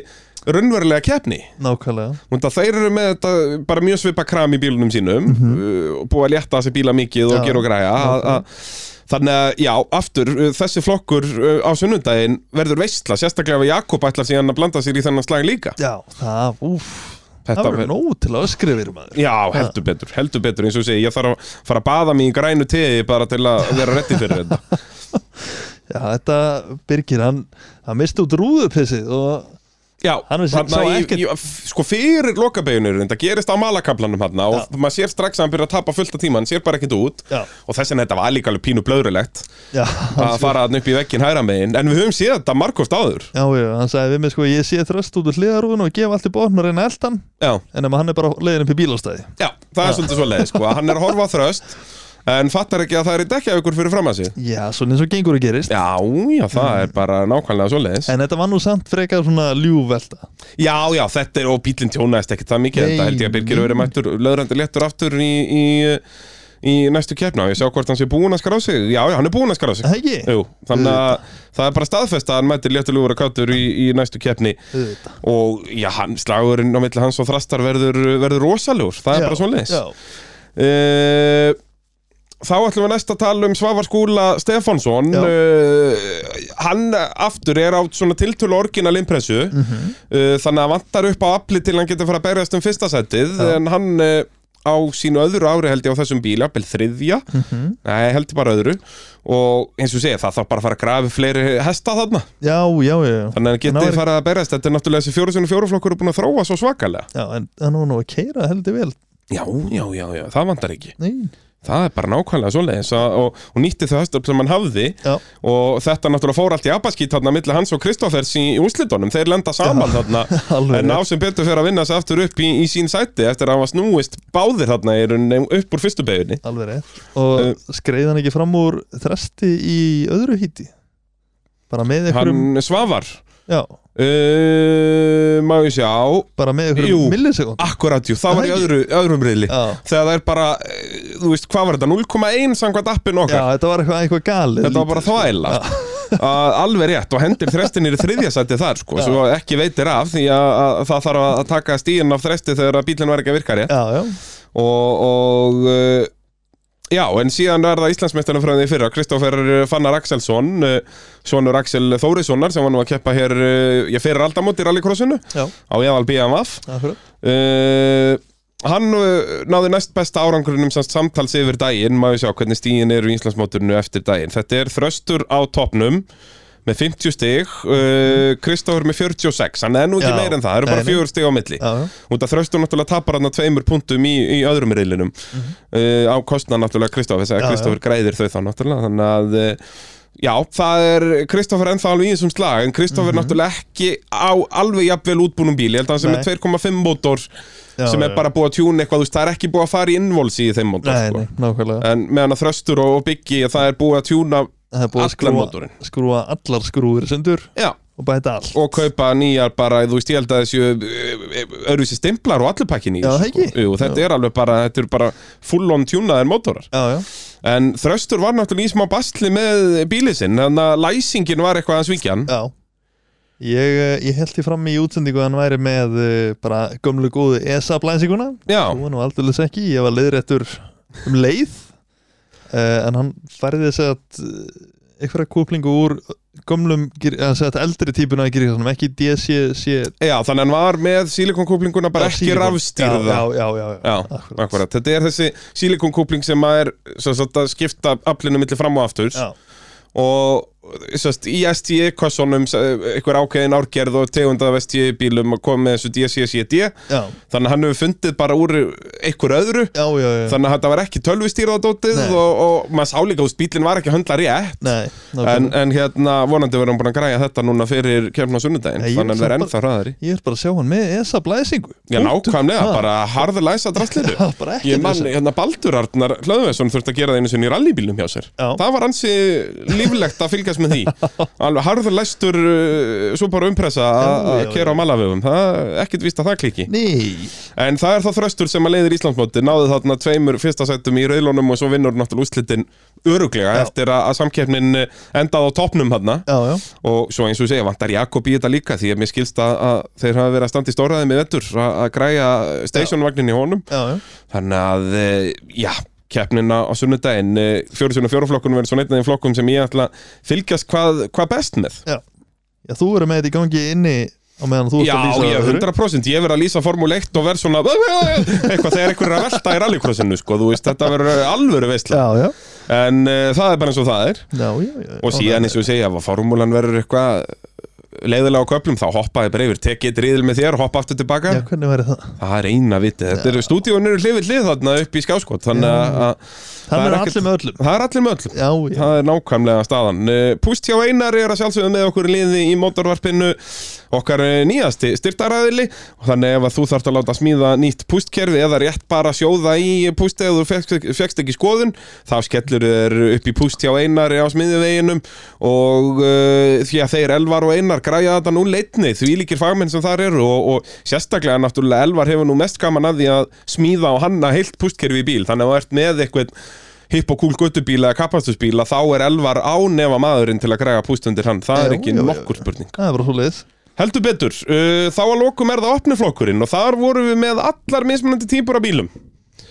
Speaker 1: Runnverulega keppni
Speaker 2: Nákvæmlega
Speaker 1: Þannig að þeir eru með þetta bara mjög svipa kram í bílunum sínum uh, og búið að létta þessi bíla mikið og
Speaker 2: Mhm. Já,
Speaker 1: gera og græja að- að- Þannig að, já, aftur, uh, þessi flokkur uh, á sunnundaginn verður veistla sérstaklega ef að Jakob ætlar síðan að blanda sér í þennan slag líka
Speaker 2: Já, það, úf það
Speaker 1: Þetta
Speaker 2: verður nóg til að öskri verið maður
Speaker 1: Já, heldur betur, heldur betur eins og ég segi, ég þarf að fara að baða mig í grænu tegi bara til að vera reddi fyrir þetta
Speaker 2: Já, þetta Birgir, hann, hann misti út rúðupissið og
Speaker 1: Já,
Speaker 2: Hann vissi-
Speaker 1: þarna
Speaker 2: sá
Speaker 1: í-
Speaker 2: ekkert-
Speaker 1: í- f- sko fyrir lokabeginur þetta gerist á malakablanum hann og maður sér strax að hann byrja að tapa fullt af tíma, hann sér bara ekkert út
Speaker 2: Já.
Speaker 1: og þess vegna þetta var líka alveg pínu blöðrulegt
Speaker 2: Já,
Speaker 1: að fara hann upp í vegginn hægra megin en við höfum séð þetta margóft áður
Speaker 2: já, já, hann sagði við mig sko ég sé þröst út úr hliðarúðun og gefa allt í botn og reyna að eldan
Speaker 1: Já,
Speaker 2: en ef hann er bara leiðin upp í bílastæði
Speaker 1: já það er svolítið svo leið sko, að hann er að horfa á þröst en fattar ekki að það er í dekja ykkur fyrir fram að sig
Speaker 2: Já, svona eins og gengur og gerist
Speaker 1: Já, já, það er bara nákvæmlega svo leiðis
Speaker 2: En þetta var nú samt frekar svona ljúvelta
Speaker 1: Já, já, þetta er, og bílinn tjónaðist ekkert það mikið,
Speaker 2: Nei,
Speaker 1: þetta held ég að Birgir
Speaker 2: nei.
Speaker 1: verið mættur löðrandi léttur aftur í, í, í næstu keppna og ég sjá hvort hann sé búin að skrá sig Já, já, hann er búin að skrá sig
Speaker 2: Það ekki?
Speaker 1: Jú, þannig að það er bara staðfest að hann mættir léttulegur að kátur í, í næstu keppni
Speaker 2: Auðvitað.
Speaker 1: og já, hann, slagurinn á milli hans og þrastar verður, verður rosalegur, það er bara svona leis
Speaker 2: Já,
Speaker 1: Eh, Þá ætlum við næst að tala um Svavar Skúla Stefánsson
Speaker 2: Já.
Speaker 1: uh, Hann aftur er á svona tiltölu orginal impressu
Speaker 2: Mhm.
Speaker 1: uh, Þannig að vantar upp á afli til hann getur fara að berjast um fyrsta setið
Speaker 2: Já.
Speaker 1: En hann uh, á sínu öðru ári held ég á þessum bíl, jafnvel þriðja
Speaker 2: Mhm.
Speaker 1: Nei, held ég bara öðru Og eins og segja, það þarf bara að fara að grafi fleiri hesta þarna
Speaker 2: já, já, já
Speaker 1: Þannig að hann
Speaker 2: En hann
Speaker 1: geti
Speaker 2: var-
Speaker 1: fara að berjast Þetta er náttúrulega þessi fjóru sinni fjóruflokkur er búin að þróa svo svakalega
Speaker 2: Já, en hann var nú að keira heldur vel
Speaker 1: Já, já, já, já, það vantar ekki
Speaker 2: Nei,
Speaker 1: Það er bara nákvæmlega svoleiðis að- og, og nýtti þau höstöfl sem hann hafði
Speaker 2: já,
Speaker 1: og þetta náttúrulega fór allt í abaskít þarna milli hans og Kristoffers í, í úslitunum þeir lenda saman þarna
Speaker 2: alveg
Speaker 1: en á sem betur fyrir að vinna sig aftur upp í, í sín sæti eftir að hann var snúist báðir þarna í rauninni upp úr fyrstu beginni
Speaker 2: Alveg rétt Og uh, skreið hann ekki fram úr þresti í öðru híti Bara með einhverjum
Speaker 1: hann Svavar
Speaker 2: Já,
Speaker 1: uh, má ég sjá
Speaker 2: bara með
Speaker 1: Jú. Ah,
Speaker 2: einhverjum millisekund
Speaker 1: akkurat jú, það var í
Speaker 2: Það
Speaker 1: öðru, öðrum riðli
Speaker 2: Já,
Speaker 1: þegar það er bara, eh, þú veist hvað var þetta 0,1 samkvæmt appin
Speaker 2: já, sko.
Speaker 1: okkar
Speaker 2: þetta var eitthvað, eitthvað galið
Speaker 1: Þetta var bara þvæla Að Alveg rétt og hendir þrestinir í þriðja sæti þar sko,
Speaker 2: Já.
Speaker 1: svo ekki veitir af því að, að það þarf að taka stíðin af þresti þegar að bílinn var ekki að virka rétt
Speaker 2: Já, já,
Speaker 1: og, og uh, já, en síðan er það Íslandsmeistarinn frá því í fyrra, Kristoffer Fannar Axelsson uh, sonur Axel Þórissonar sem var nú að keppa hér uh, ég fyrir aldamót í rallycrossinu
Speaker 2: já,
Speaker 1: á Jæval BMF
Speaker 2: akkurat
Speaker 1: uh, Hann uh, náði næst besta árangurinnum semst samtals yfir daginn maður sjá hvernig stíin eru í Íslandsmóturinu eftir daginn þetta er þröstur á topnum með 50 stig uh, Kristofur með 46, hann er nú ekki
Speaker 2: Já.
Speaker 1: meir en það það eru
Speaker 2: Nei,
Speaker 1: bara
Speaker 2: nei.
Speaker 1: fjögur stig á milli
Speaker 2: Já, já,
Speaker 1: út af þröstur náttúrulega tapar hann að tveimur punktum í, í öðrum reylinum uh, á kostnað náttúrulega Kristofur þess
Speaker 2: Mhm. Já,
Speaker 1: að
Speaker 2: já.
Speaker 1: Kristofur græðir þau þá náttúrulega þannig að uh, já, það er Kristofur ennþá alveg í þessum slag en Kristofur
Speaker 2: Mhm.
Speaker 1: náttúrulega ekki á alveg jafnvel útbúnum bíli, ég held að hann sem
Speaker 2: Nei.
Speaker 1: er 2,5 mótor
Speaker 2: já
Speaker 1: sem er
Speaker 2: já.
Speaker 1: bara búið að tjúna eitthvað, þú veist, það er ekki búið að fara í involsi í þeim mótor,
Speaker 2: Nei,
Speaker 1: sko.
Speaker 2: nei, nákvæmlega
Speaker 1: en meðan að þröstur og, og byggi það er búið að tjúna,
Speaker 2: Það er búið að
Speaker 1: allan
Speaker 2: skrúa,
Speaker 1: mótorinn.
Speaker 2: skrúa allar skrúir sendur
Speaker 1: já,
Speaker 2: og bæta allt
Speaker 1: og kaupa nýjar bara, þú veist, ég held að þessu eh, öðruvísi stimplar og allir pakkin í
Speaker 2: Já,
Speaker 1: þessu, sko.
Speaker 2: það ekki?
Speaker 1: Jú, þetta er alveg bara, þetta eru bara full on tjúnaðir mótorar
Speaker 2: Já, já,
Speaker 1: en þröstur var náttúrulega í smá bastli með bílið sinn, þannig að læsingin var eitthvað að svíkja hann,
Speaker 2: já Ég, eh, ég held því fram í útsendingu að hann væri með eh, bara gömlu góðu E ESA blænsinguna
Speaker 1: já,
Speaker 2: Svo nú aldeilis ekki, ég var leiðréttur um leið uh, en hann færði þess að eh, einhverja kúplingu úr gömlum, gir- eða sem sagt eldri típuna í gyrkjastunum, ekki DCC
Speaker 1: já, þannig að hann var með sílikonkúplinguna bara ekki rafstýrða
Speaker 2: Já, já, já, já,
Speaker 1: Já,
Speaker 2: akkúrat.
Speaker 1: akkurat, þetta er þessi sílikonkúpling sem að er sem sagt, að skipta aflinu milli fram og aftur
Speaker 2: Já,
Speaker 1: og sest, í STI kossunum eh, einhver ákveðin árgerð og tegund af STI bílum að koma með þessu DCCD
Speaker 2: já,
Speaker 1: þannig að hann hefur fundið bara úr einhver öðru
Speaker 2: já, já, já.
Speaker 1: þannig að þetta var ekki tölvustýrðadótið
Speaker 2: Nei.
Speaker 1: og, og maður sá líka úr bílinn var ekki að höndla rétt
Speaker 2: Nei,
Speaker 1: en,
Speaker 2: nákvæmlega.
Speaker 1: en hérna vonandi verður hann búin að græja þetta núna fyrir kemna sunnudaginn
Speaker 2: Nei, ég
Speaker 1: þannig að hann verður
Speaker 2: hugsa
Speaker 1: ennþá hraðari
Speaker 2: Ég er bara að sjá hann með ESA blæsingu
Speaker 1: Já, nákvæmlega,
Speaker 2: Ha.
Speaker 1: bara harðlæsa drastliru
Speaker 2: Já, bara ekki
Speaker 1: Ég man, hérna Baldur Arnar Hlöðvesson þurfti að gera það einu sinni í rallybílnum hjá sér
Speaker 2: Já.
Speaker 1: Það var ansi líflegt að fylgjast með því Alveg harðlæstur uh, svo bara umpressa að-
Speaker 2: Já,
Speaker 1: að
Speaker 2: já,
Speaker 1: kera á malavegum Það er ekkert víst að það kliki
Speaker 2: Nei,
Speaker 1: En það er þá þröstur sem að leiðir Íslandsmóti Náði þarna tveimur fyrsta sætum í rauðlónum og svo vinnur náttúrulega úrslitin öruglega
Speaker 2: Já.
Speaker 1: eftir að, að samkeppnin eh, endaði á topnum þarna
Speaker 2: já, já,
Speaker 1: og svo eins og ég segja vantar Jakob í þetta líka því að mér skilst að, að þeir hafa verið að standa í stóraði með vettur að að græja stationvagnin í honum
Speaker 2: já, já
Speaker 1: þannig að eh, já keppnina á sunnudaginn eh, fjórisunum fjóruflokkunum verður svona einn af þeim flokkum sem ég ætla að fylgjast hvað, hvað best með
Speaker 2: Já, þú verður með þetta í gangi inni á meðan þú ert
Speaker 1: Já,
Speaker 2: að lýsa
Speaker 1: ég,
Speaker 2: öðru.
Speaker 1: 100% Ég verð að lýsa Formule 1 og verð svona eitthvað þegar einhver er að velta í rallycrossinu sko, þú veist, þetta verður alvöru veistla
Speaker 2: Já, já,
Speaker 1: en uh, það er bara eins og það er
Speaker 2: já, já, já
Speaker 1: og síðan eins og ég segja, ef að formúlan verður eitthvað leiðilega á köplum, þá hoppaði bara yfir tekið eitt riðil með þér og hoppa aftur tilbaka
Speaker 2: Já, hvernig væri það?
Speaker 1: það er eina vitið, þetta eru stúdíun eru hlifið hlið þarna upp í skáskot þannig að að
Speaker 2: Það
Speaker 1: er
Speaker 2: er
Speaker 1: ekkert-
Speaker 2: allir með öllum
Speaker 1: það er allir með öllum
Speaker 2: Já, já,
Speaker 1: Það er nákvæmlega staðan. Eh, Púst hjá Einar er að sjálfsögðu með okkur í liði í mótorvarpinu okkar eh, nýjasti styrtaræðili og þannig ef að þú þarft að láta smíða nýtt pústkerfi eða rétt bara sjóða í pústi eða þú fekst, fekst ekki skoðun þá skellur þér upp í púst hjá Einar á smiðiveginum og uh, því að þeir Elvar og Einar græja þetta nú leitni því líkir fagmenn sem þar eru og, og sérstaklega náttúrulega Elvar hefur nú mest gaman að því að smíða og hanna heilt pústkerfi í bíl þannig að þú ert með eitthvað hipp og kúl göttubíla eða kappastusbíla þá er Elvar ánefa maðurinn til að græga pústundir hann, það er
Speaker 2: Já,
Speaker 1: ekki
Speaker 2: já, já,
Speaker 1: nokkur spurning
Speaker 2: það er bara svo leiðis
Speaker 1: heldur betur, uh, þá að lokum er það opniflokkurinn og þar vorum við með allar mismunandi típur af bílum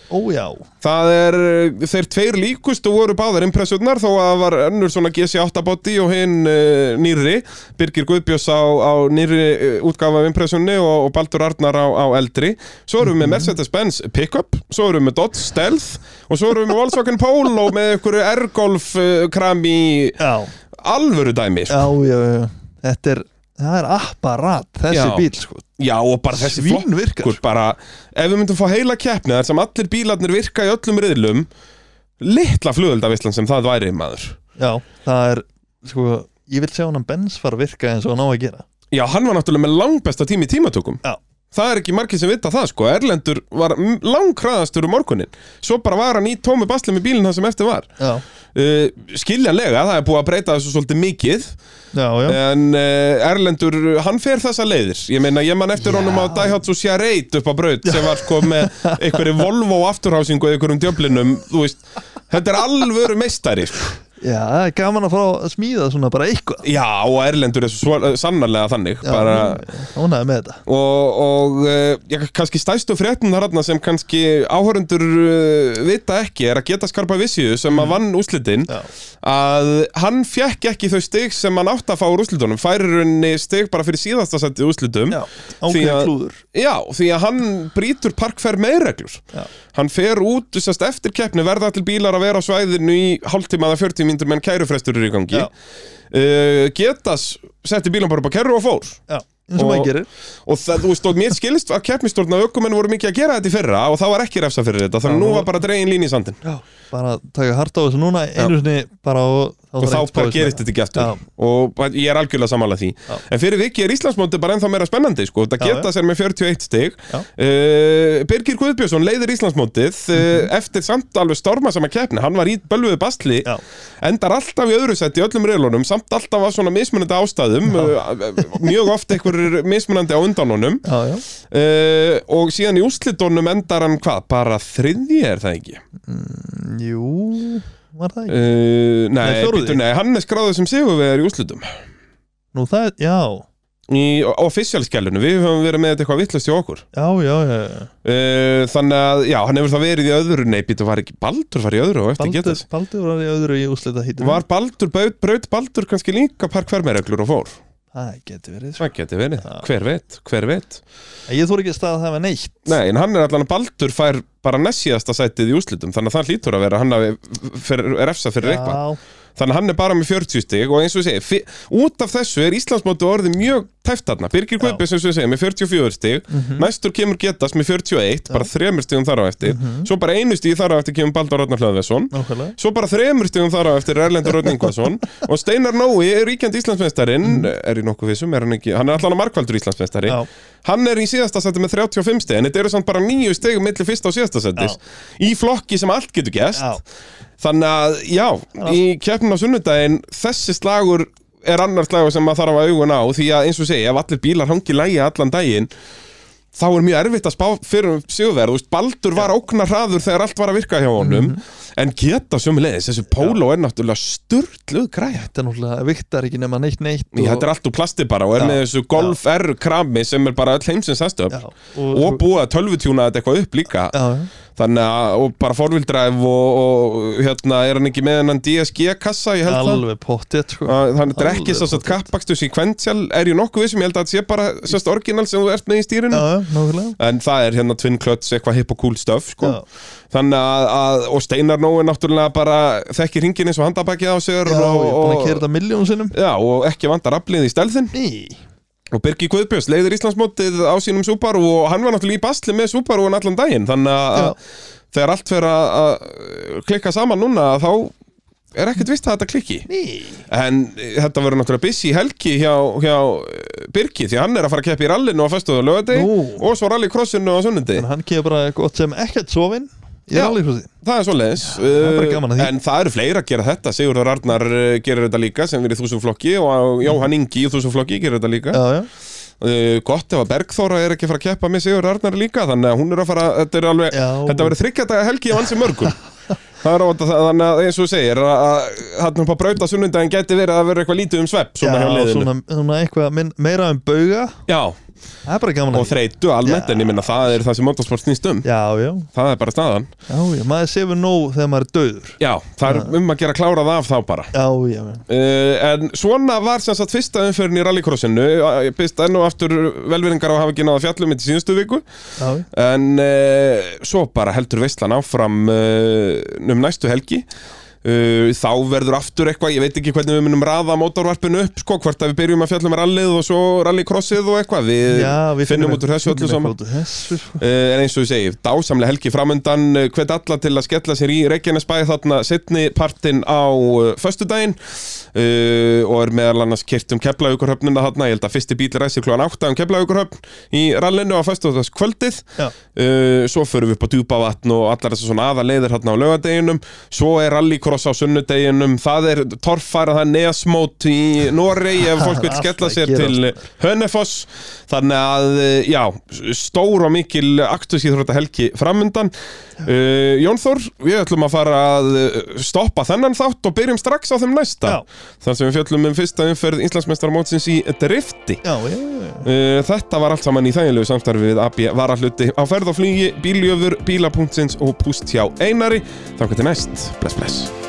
Speaker 2: Ó, já,
Speaker 1: það er, uh, þeir tveir líkustu voru báðar impressurnar þó að það var önnur svona GC8 body og hinn uh, nýrri, Birgir Guðbjós á, á nýrri uh, útgáfa af impressunni og, og Baldur Arnar á, á eldri svo erum við með Mercedes-Benz Pickup svo erum við með Dodge Stealth og svo erum við með Volkswagen Polo með einhverju R-Golf uh, kram í
Speaker 2: já,
Speaker 1: alvöru dæmi sko.
Speaker 2: já, já, já. Þetta er, það er apparat þessi
Speaker 1: Já.
Speaker 2: bíl, sko
Speaker 1: Já, og bara þessi
Speaker 2: Svín virkar.
Speaker 1: flokkur bara, ef við myndum fá heila keppni þar sem allir bílarnir virka í öllum riðlum litla flugöldavislan sem það væri maður
Speaker 2: Já, það er, sko Ég vil sjá hann að Benz fara að virka eins og hann á að gera
Speaker 1: Já, hann var náttúrulega með langbesta tími í tímatökum
Speaker 2: Já.
Speaker 1: Það er ekki margir sem vita það sko Erlendur var m- langkraðastur um morgunin Svo bara var hann í tómi basli með bílinn það sem eftir var
Speaker 2: Já,
Speaker 1: uh, Skiljanlega, það er búið að breyta þessu svolítið mikið
Speaker 2: já, já
Speaker 1: En uh, Erlendur, hann fer þessa leiðir Ég meina, ég man eftir
Speaker 2: Já.
Speaker 1: honum á Daihatsu Sjareit upp á braut sem var sko með einhverju Volvo afturhásingu eða einhverjum djöflinum Þú veist, þetta er alvöru meistari sko.
Speaker 2: Já, það er gaman að fara að smíða svona bara eitthvað
Speaker 1: Já, og Erlendur er svo sannarlega þannig
Speaker 2: Já,
Speaker 1: bara,
Speaker 2: Ánægði með þetta
Speaker 1: og, og eh, já, kannski stæstu fréttunar þarna sem kannski áhörundur uh, vita ekki er að geta skarpa vissiðu sem að vann úslitin
Speaker 2: Mm. Já.
Speaker 1: að hann fekk ekki þau stig sem hann átti að fá úr úslitunum færir henni stig bara fyrir síðasta seti úslitum
Speaker 2: Já,
Speaker 1: Því
Speaker 2: ákveðin
Speaker 1: að-
Speaker 2: klúður
Speaker 1: Já, því að hann brýtur parkferð meðreglur
Speaker 2: Já.
Speaker 1: Hann fer út, sérst, eftir keppni verða allir bílar að vera á svæðinu í hálftíma eða 40 mínútur meðan kærufrestur eru í gangi
Speaker 2: Já.
Speaker 1: uh, Getas setti bílan bara upp á kerru og fór
Speaker 2: Já, eins og
Speaker 1: Og-
Speaker 2: maður gerir
Speaker 1: Og það, þú veist, og mér skilst að keppnistórna aukumenn voru mikið að gera þetta í fyrra og það var ekki refsa fyrir þetta, þannig að
Speaker 2: Já.
Speaker 1: nú var bara dregin lín í sandin
Speaker 2: Já, bara taka hart á þessu núna einu sinni bara og
Speaker 1: og
Speaker 2: þarf
Speaker 1: þá
Speaker 2: ekkert
Speaker 1: bara
Speaker 2: spá í
Speaker 1: gerist þetta ekki
Speaker 2: Já.
Speaker 1: aftur og ég er algjörlega sammála því
Speaker 2: Já.
Speaker 1: en fyrir vikið er Íslandsmóti bara ennþá meira spennandi sko. það
Speaker 2: Já,
Speaker 1: geta sér með 41 stig
Speaker 2: Já.
Speaker 1: uh, Birgir Guðbjörnsson leiðir Íslandsmótið uh, eftir samt alveg storma sem að keppni hann var í bölvuðu bastli
Speaker 2: Já.
Speaker 1: endar alltaf í öðru sett í öllum reilunum samt alltaf af svona mismunandi ástæðum uh, mjög oft einhver mismunandi á undanunum
Speaker 2: Já, já,
Speaker 1: uh, og síðan í úslitunum endar hann hvað, bara þriðji er það ekki
Speaker 2: jú, var það ekki
Speaker 1: uh,
Speaker 2: Nei,
Speaker 1: nei,
Speaker 2: fjórði.
Speaker 1: býtu, nei, hann er skráður sem sigurvegar í úslitum
Speaker 2: Nú það, já,
Speaker 1: í officialskælunum, við höfum verið með þetta eitthvað vittlust hjá okkur
Speaker 2: já, já, já, já.
Speaker 1: uh, þannig að, já, hann hefur það verið í öðru nei, býttu, var ekki Baldur var í öðru og eftir
Speaker 2: Baldur,
Speaker 1: getas
Speaker 2: Baldur var í öðru í úslita hítinu
Speaker 1: var Baldur, braut, braut Baldur kannski líka parkvermereglur og fór
Speaker 2: Það geti verið sko.
Speaker 1: það geti verið,
Speaker 2: Já.
Speaker 1: hver veit, hver veit
Speaker 2: Ég þór ekki að staða það með neitt
Speaker 1: nei, en hann er allan að Baldur fær bara næssíðasta sætið í úslitum, þannig að það hlýtur að vera hann hafi fer- refsa fyrir eitthvað
Speaker 2: Já,
Speaker 1: Þannig að hann er bara með 40 stig og eins og ég segi, fi- út af þessu er Íslandsmóti orðið mjög tæft þarna. Birgir
Speaker 2: Já. Mhm.
Speaker 1: Guðbjörns eins og ég segi með 44 stig, næstur kemur Getas með 41, bara þremur stigum þar á eftir,
Speaker 2: Mhm.
Speaker 1: svo bara einu stig þar á eftir kemur Baldur Rótnar Hlöðvesson,
Speaker 2: nákvæmlega
Speaker 1: svo bara þremur stigum þar á eftir er Erlendur Rótn Ingvason og Steinar Nói er ríkjandi Íslandsmeistarinn, er í nokkuð vissum, er hann ekki, hann er allan að markvældur Íslandsmeistari,
Speaker 2: Mhm. Já,
Speaker 1: Hann er í síðasta seti með 35 steg en þetta eru samt bara nýju steg millir fyrsta og síðasta setis í flokki sem allt getur gæst
Speaker 2: Já.
Speaker 1: þannig að já, í keppnum á sunnudaginn þessi slagur er annar slagur sem maður þarf að augun á því að eins og segja, ef allir bílar hangi lægi allan daginn þá er mjög erfitt að spá fyrir um sigurverð, þú veist, Baldur var óknar hraður þegar allt var að virka hjá honum
Speaker 2: Mhm.
Speaker 1: en geta sömulegis, þessi póló er náttúrulega sturdluð græja
Speaker 2: þetta er náttúrulega viktar ekki nema neitt neitt
Speaker 1: Í, Þetta er allt úr plasti bara og er
Speaker 2: Já.
Speaker 1: með þessu Golf R krami sem er bara öll heimsins hestöfl
Speaker 2: Já,
Speaker 1: og búið að tölvutjúna þetta eitthvað upp líka
Speaker 2: Já, já,
Speaker 1: Þannig að, og bara forvildræf og, og hérna, er hann ekki með hennan DSG-kassa, ég held það
Speaker 2: alveg pottið sko.
Speaker 1: Að Þannig að drekki
Speaker 2: Alveg
Speaker 1: þess að
Speaker 2: pottþétt.
Speaker 1: kappakstu sequential er ég nokkuð vissum, ég held að þetta sé bara sérst orginal sem þú ert með í stýrinu
Speaker 2: Já, já, nákvæmlega
Speaker 1: En það er hérna Twin Clutch, eitthvað hip og cool stuff sko.
Speaker 2: Já.
Speaker 1: Þannig að, að, og Steinar Nói náttúrulega bara þekkir hringin eins og handabækið á sér
Speaker 2: Já, ég
Speaker 1: og,
Speaker 2: er búin að
Speaker 1: og,
Speaker 2: kera þetta miljón sinnum
Speaker 1: já, og ekki vantar aflið í stelðin
Speaker 2: Ný
Speaker 1: Og Birgir Guðbjörns leiðir Íslandsmótið á sínum Subaru og hann var náttúrulega í basli með Subaru en allan daginn Þannig að
Speaker 2: Já.
Speaker 1: þegar allt fer að að klikka saman núna þá er ekkert vist að þetta klikki
Speaker 2: Ný
Speaker 1: En eh, þetta verður náttúrulega busy helgi hjá, hjá eh, Birgi því hann er að fara að keppa í rallinu á föstuðu lögadegi
Speaker 2: Nú.
Speaker 1: og svo rallycrossinu á sunnundi
Speaker 2: En hann kemur bara gott sem ekkert sofinn sko. Ég
Speaker 1: Já.
Speaker 2: er alveg húsi
Speaker 1: Það er svoleiðis Eh,
Speaker 2: er bara gaman að því.
Speaker 1: En það eru fleiri að gera þetta Sigurður Arnar eh, gerir þetta líka sem er í þúsumflokki og Jóhann Ingi í þúsumflokki gerir þetta líka
Speaker 2: Já, já
Speaker 1: uh, gott ef að Bergþóra er ekki að fara að keppa með Sigur Arnar líka þannig að hún er að fara þetta er alveg,
Speaker 2: Já.
Speaker 1: þetta verður þryggjadaga helgi af ansi mörgum það er óta, þannig að eins og þú segir að að hann upp að brauta sunnundaginn geti verið að vera eitthvað lítið um svepp svona hjá
Speaker 2: Já,
Speaker 1: liðinu
Speaker 2: svona, svona eitthvað minn, meira um bauga
Speaker 1: Já,
Speaker 2: Það er bara gaman
Speaker 1: og
Speaker 2: að því
Speaker 1: þreytu almennt
Speaker 2: Já.
Speaker 1: en ég minna það er það sem motorsport snýst um
Speaker 2: Já, já,
Speaker 1: það er bara staðan
Speaker 2: já, já Maður sefur nóg þegar maður er döður
Speaker 1: Já, það er um að gera klárað af þá bara
Speaker 2: Já, já, já
Speaker 1: Uh, en svona var sem sagt fyrsta umförin í rallycrossinu Ég byrst enn og aftur velveringar á að hafa ekki náða fjallum í síðustu viku
Speaker 2: Já, já.
Speaker 1: En uh, svo bara heldur veistlan áfram uh, um næstu helgi uh, Þá verður aftur eitthvað, ég veit ekki hvernig við munum raða mótorvarpinu upp sko, Hvort að við byrjum að fjalla um rallið og svo rallycrossið og eitthvað Við,
Speaker 2: já við
Speaker 1: finnum út úr þessu öllu
Speaker 2: finnum
Speaker 1: saman
Speaker 2: eitthvað út úr þessu, sko.
Speaker 1: Uh, en eins og ég segi, dásamlega helgi framöndan uh, hvet alla til að skella sér í Reykjanesbæði þarna setni partinn á uh, föstudaginn uh, og er meðal annars kyrt um keflaukurhöfnuna þarna, ég held að fyrsti bíl ræsir klúan 8 um keflaukurhöfn í rallinu á föstudagskvöldið
Speaker 2: Já.
Speaker 1: uh, svo förum við upp á djúpavatn og allar þessar svona aðaleiðir hérna á laugardeginum svo er rallycross á sunnudeginum það er torfara, það er nesmót í Noregi ef fólk vil
Speaker 2: Allt
Speaker 1: skella
Speaker 2: að
Speaker 1: sér
Speaker 2: gerast.
Speaker 1: til Hönnefoss þannig að, eh, já, stór og mikil aktusíþrótta helgi framundan uh, Jónþór, við ætlum að fara að eh, stoppa þennan þátt og byrjum strax á þeim næsta
Speaker 2: Já.
Speaker 1: þar sem við fjöllum um fyrsta umferð Íslandsmeistaramótsins í drifti
Speaker 2: Já, já, já, já.
Speaker 1: Uh, Þetta var allt saman í þægilegu samstarfi við AB Varahluti á ferð og flugi, bíljöfur, bíla.sins og púst hjá Einari. Þá getur næst. Bless, bless.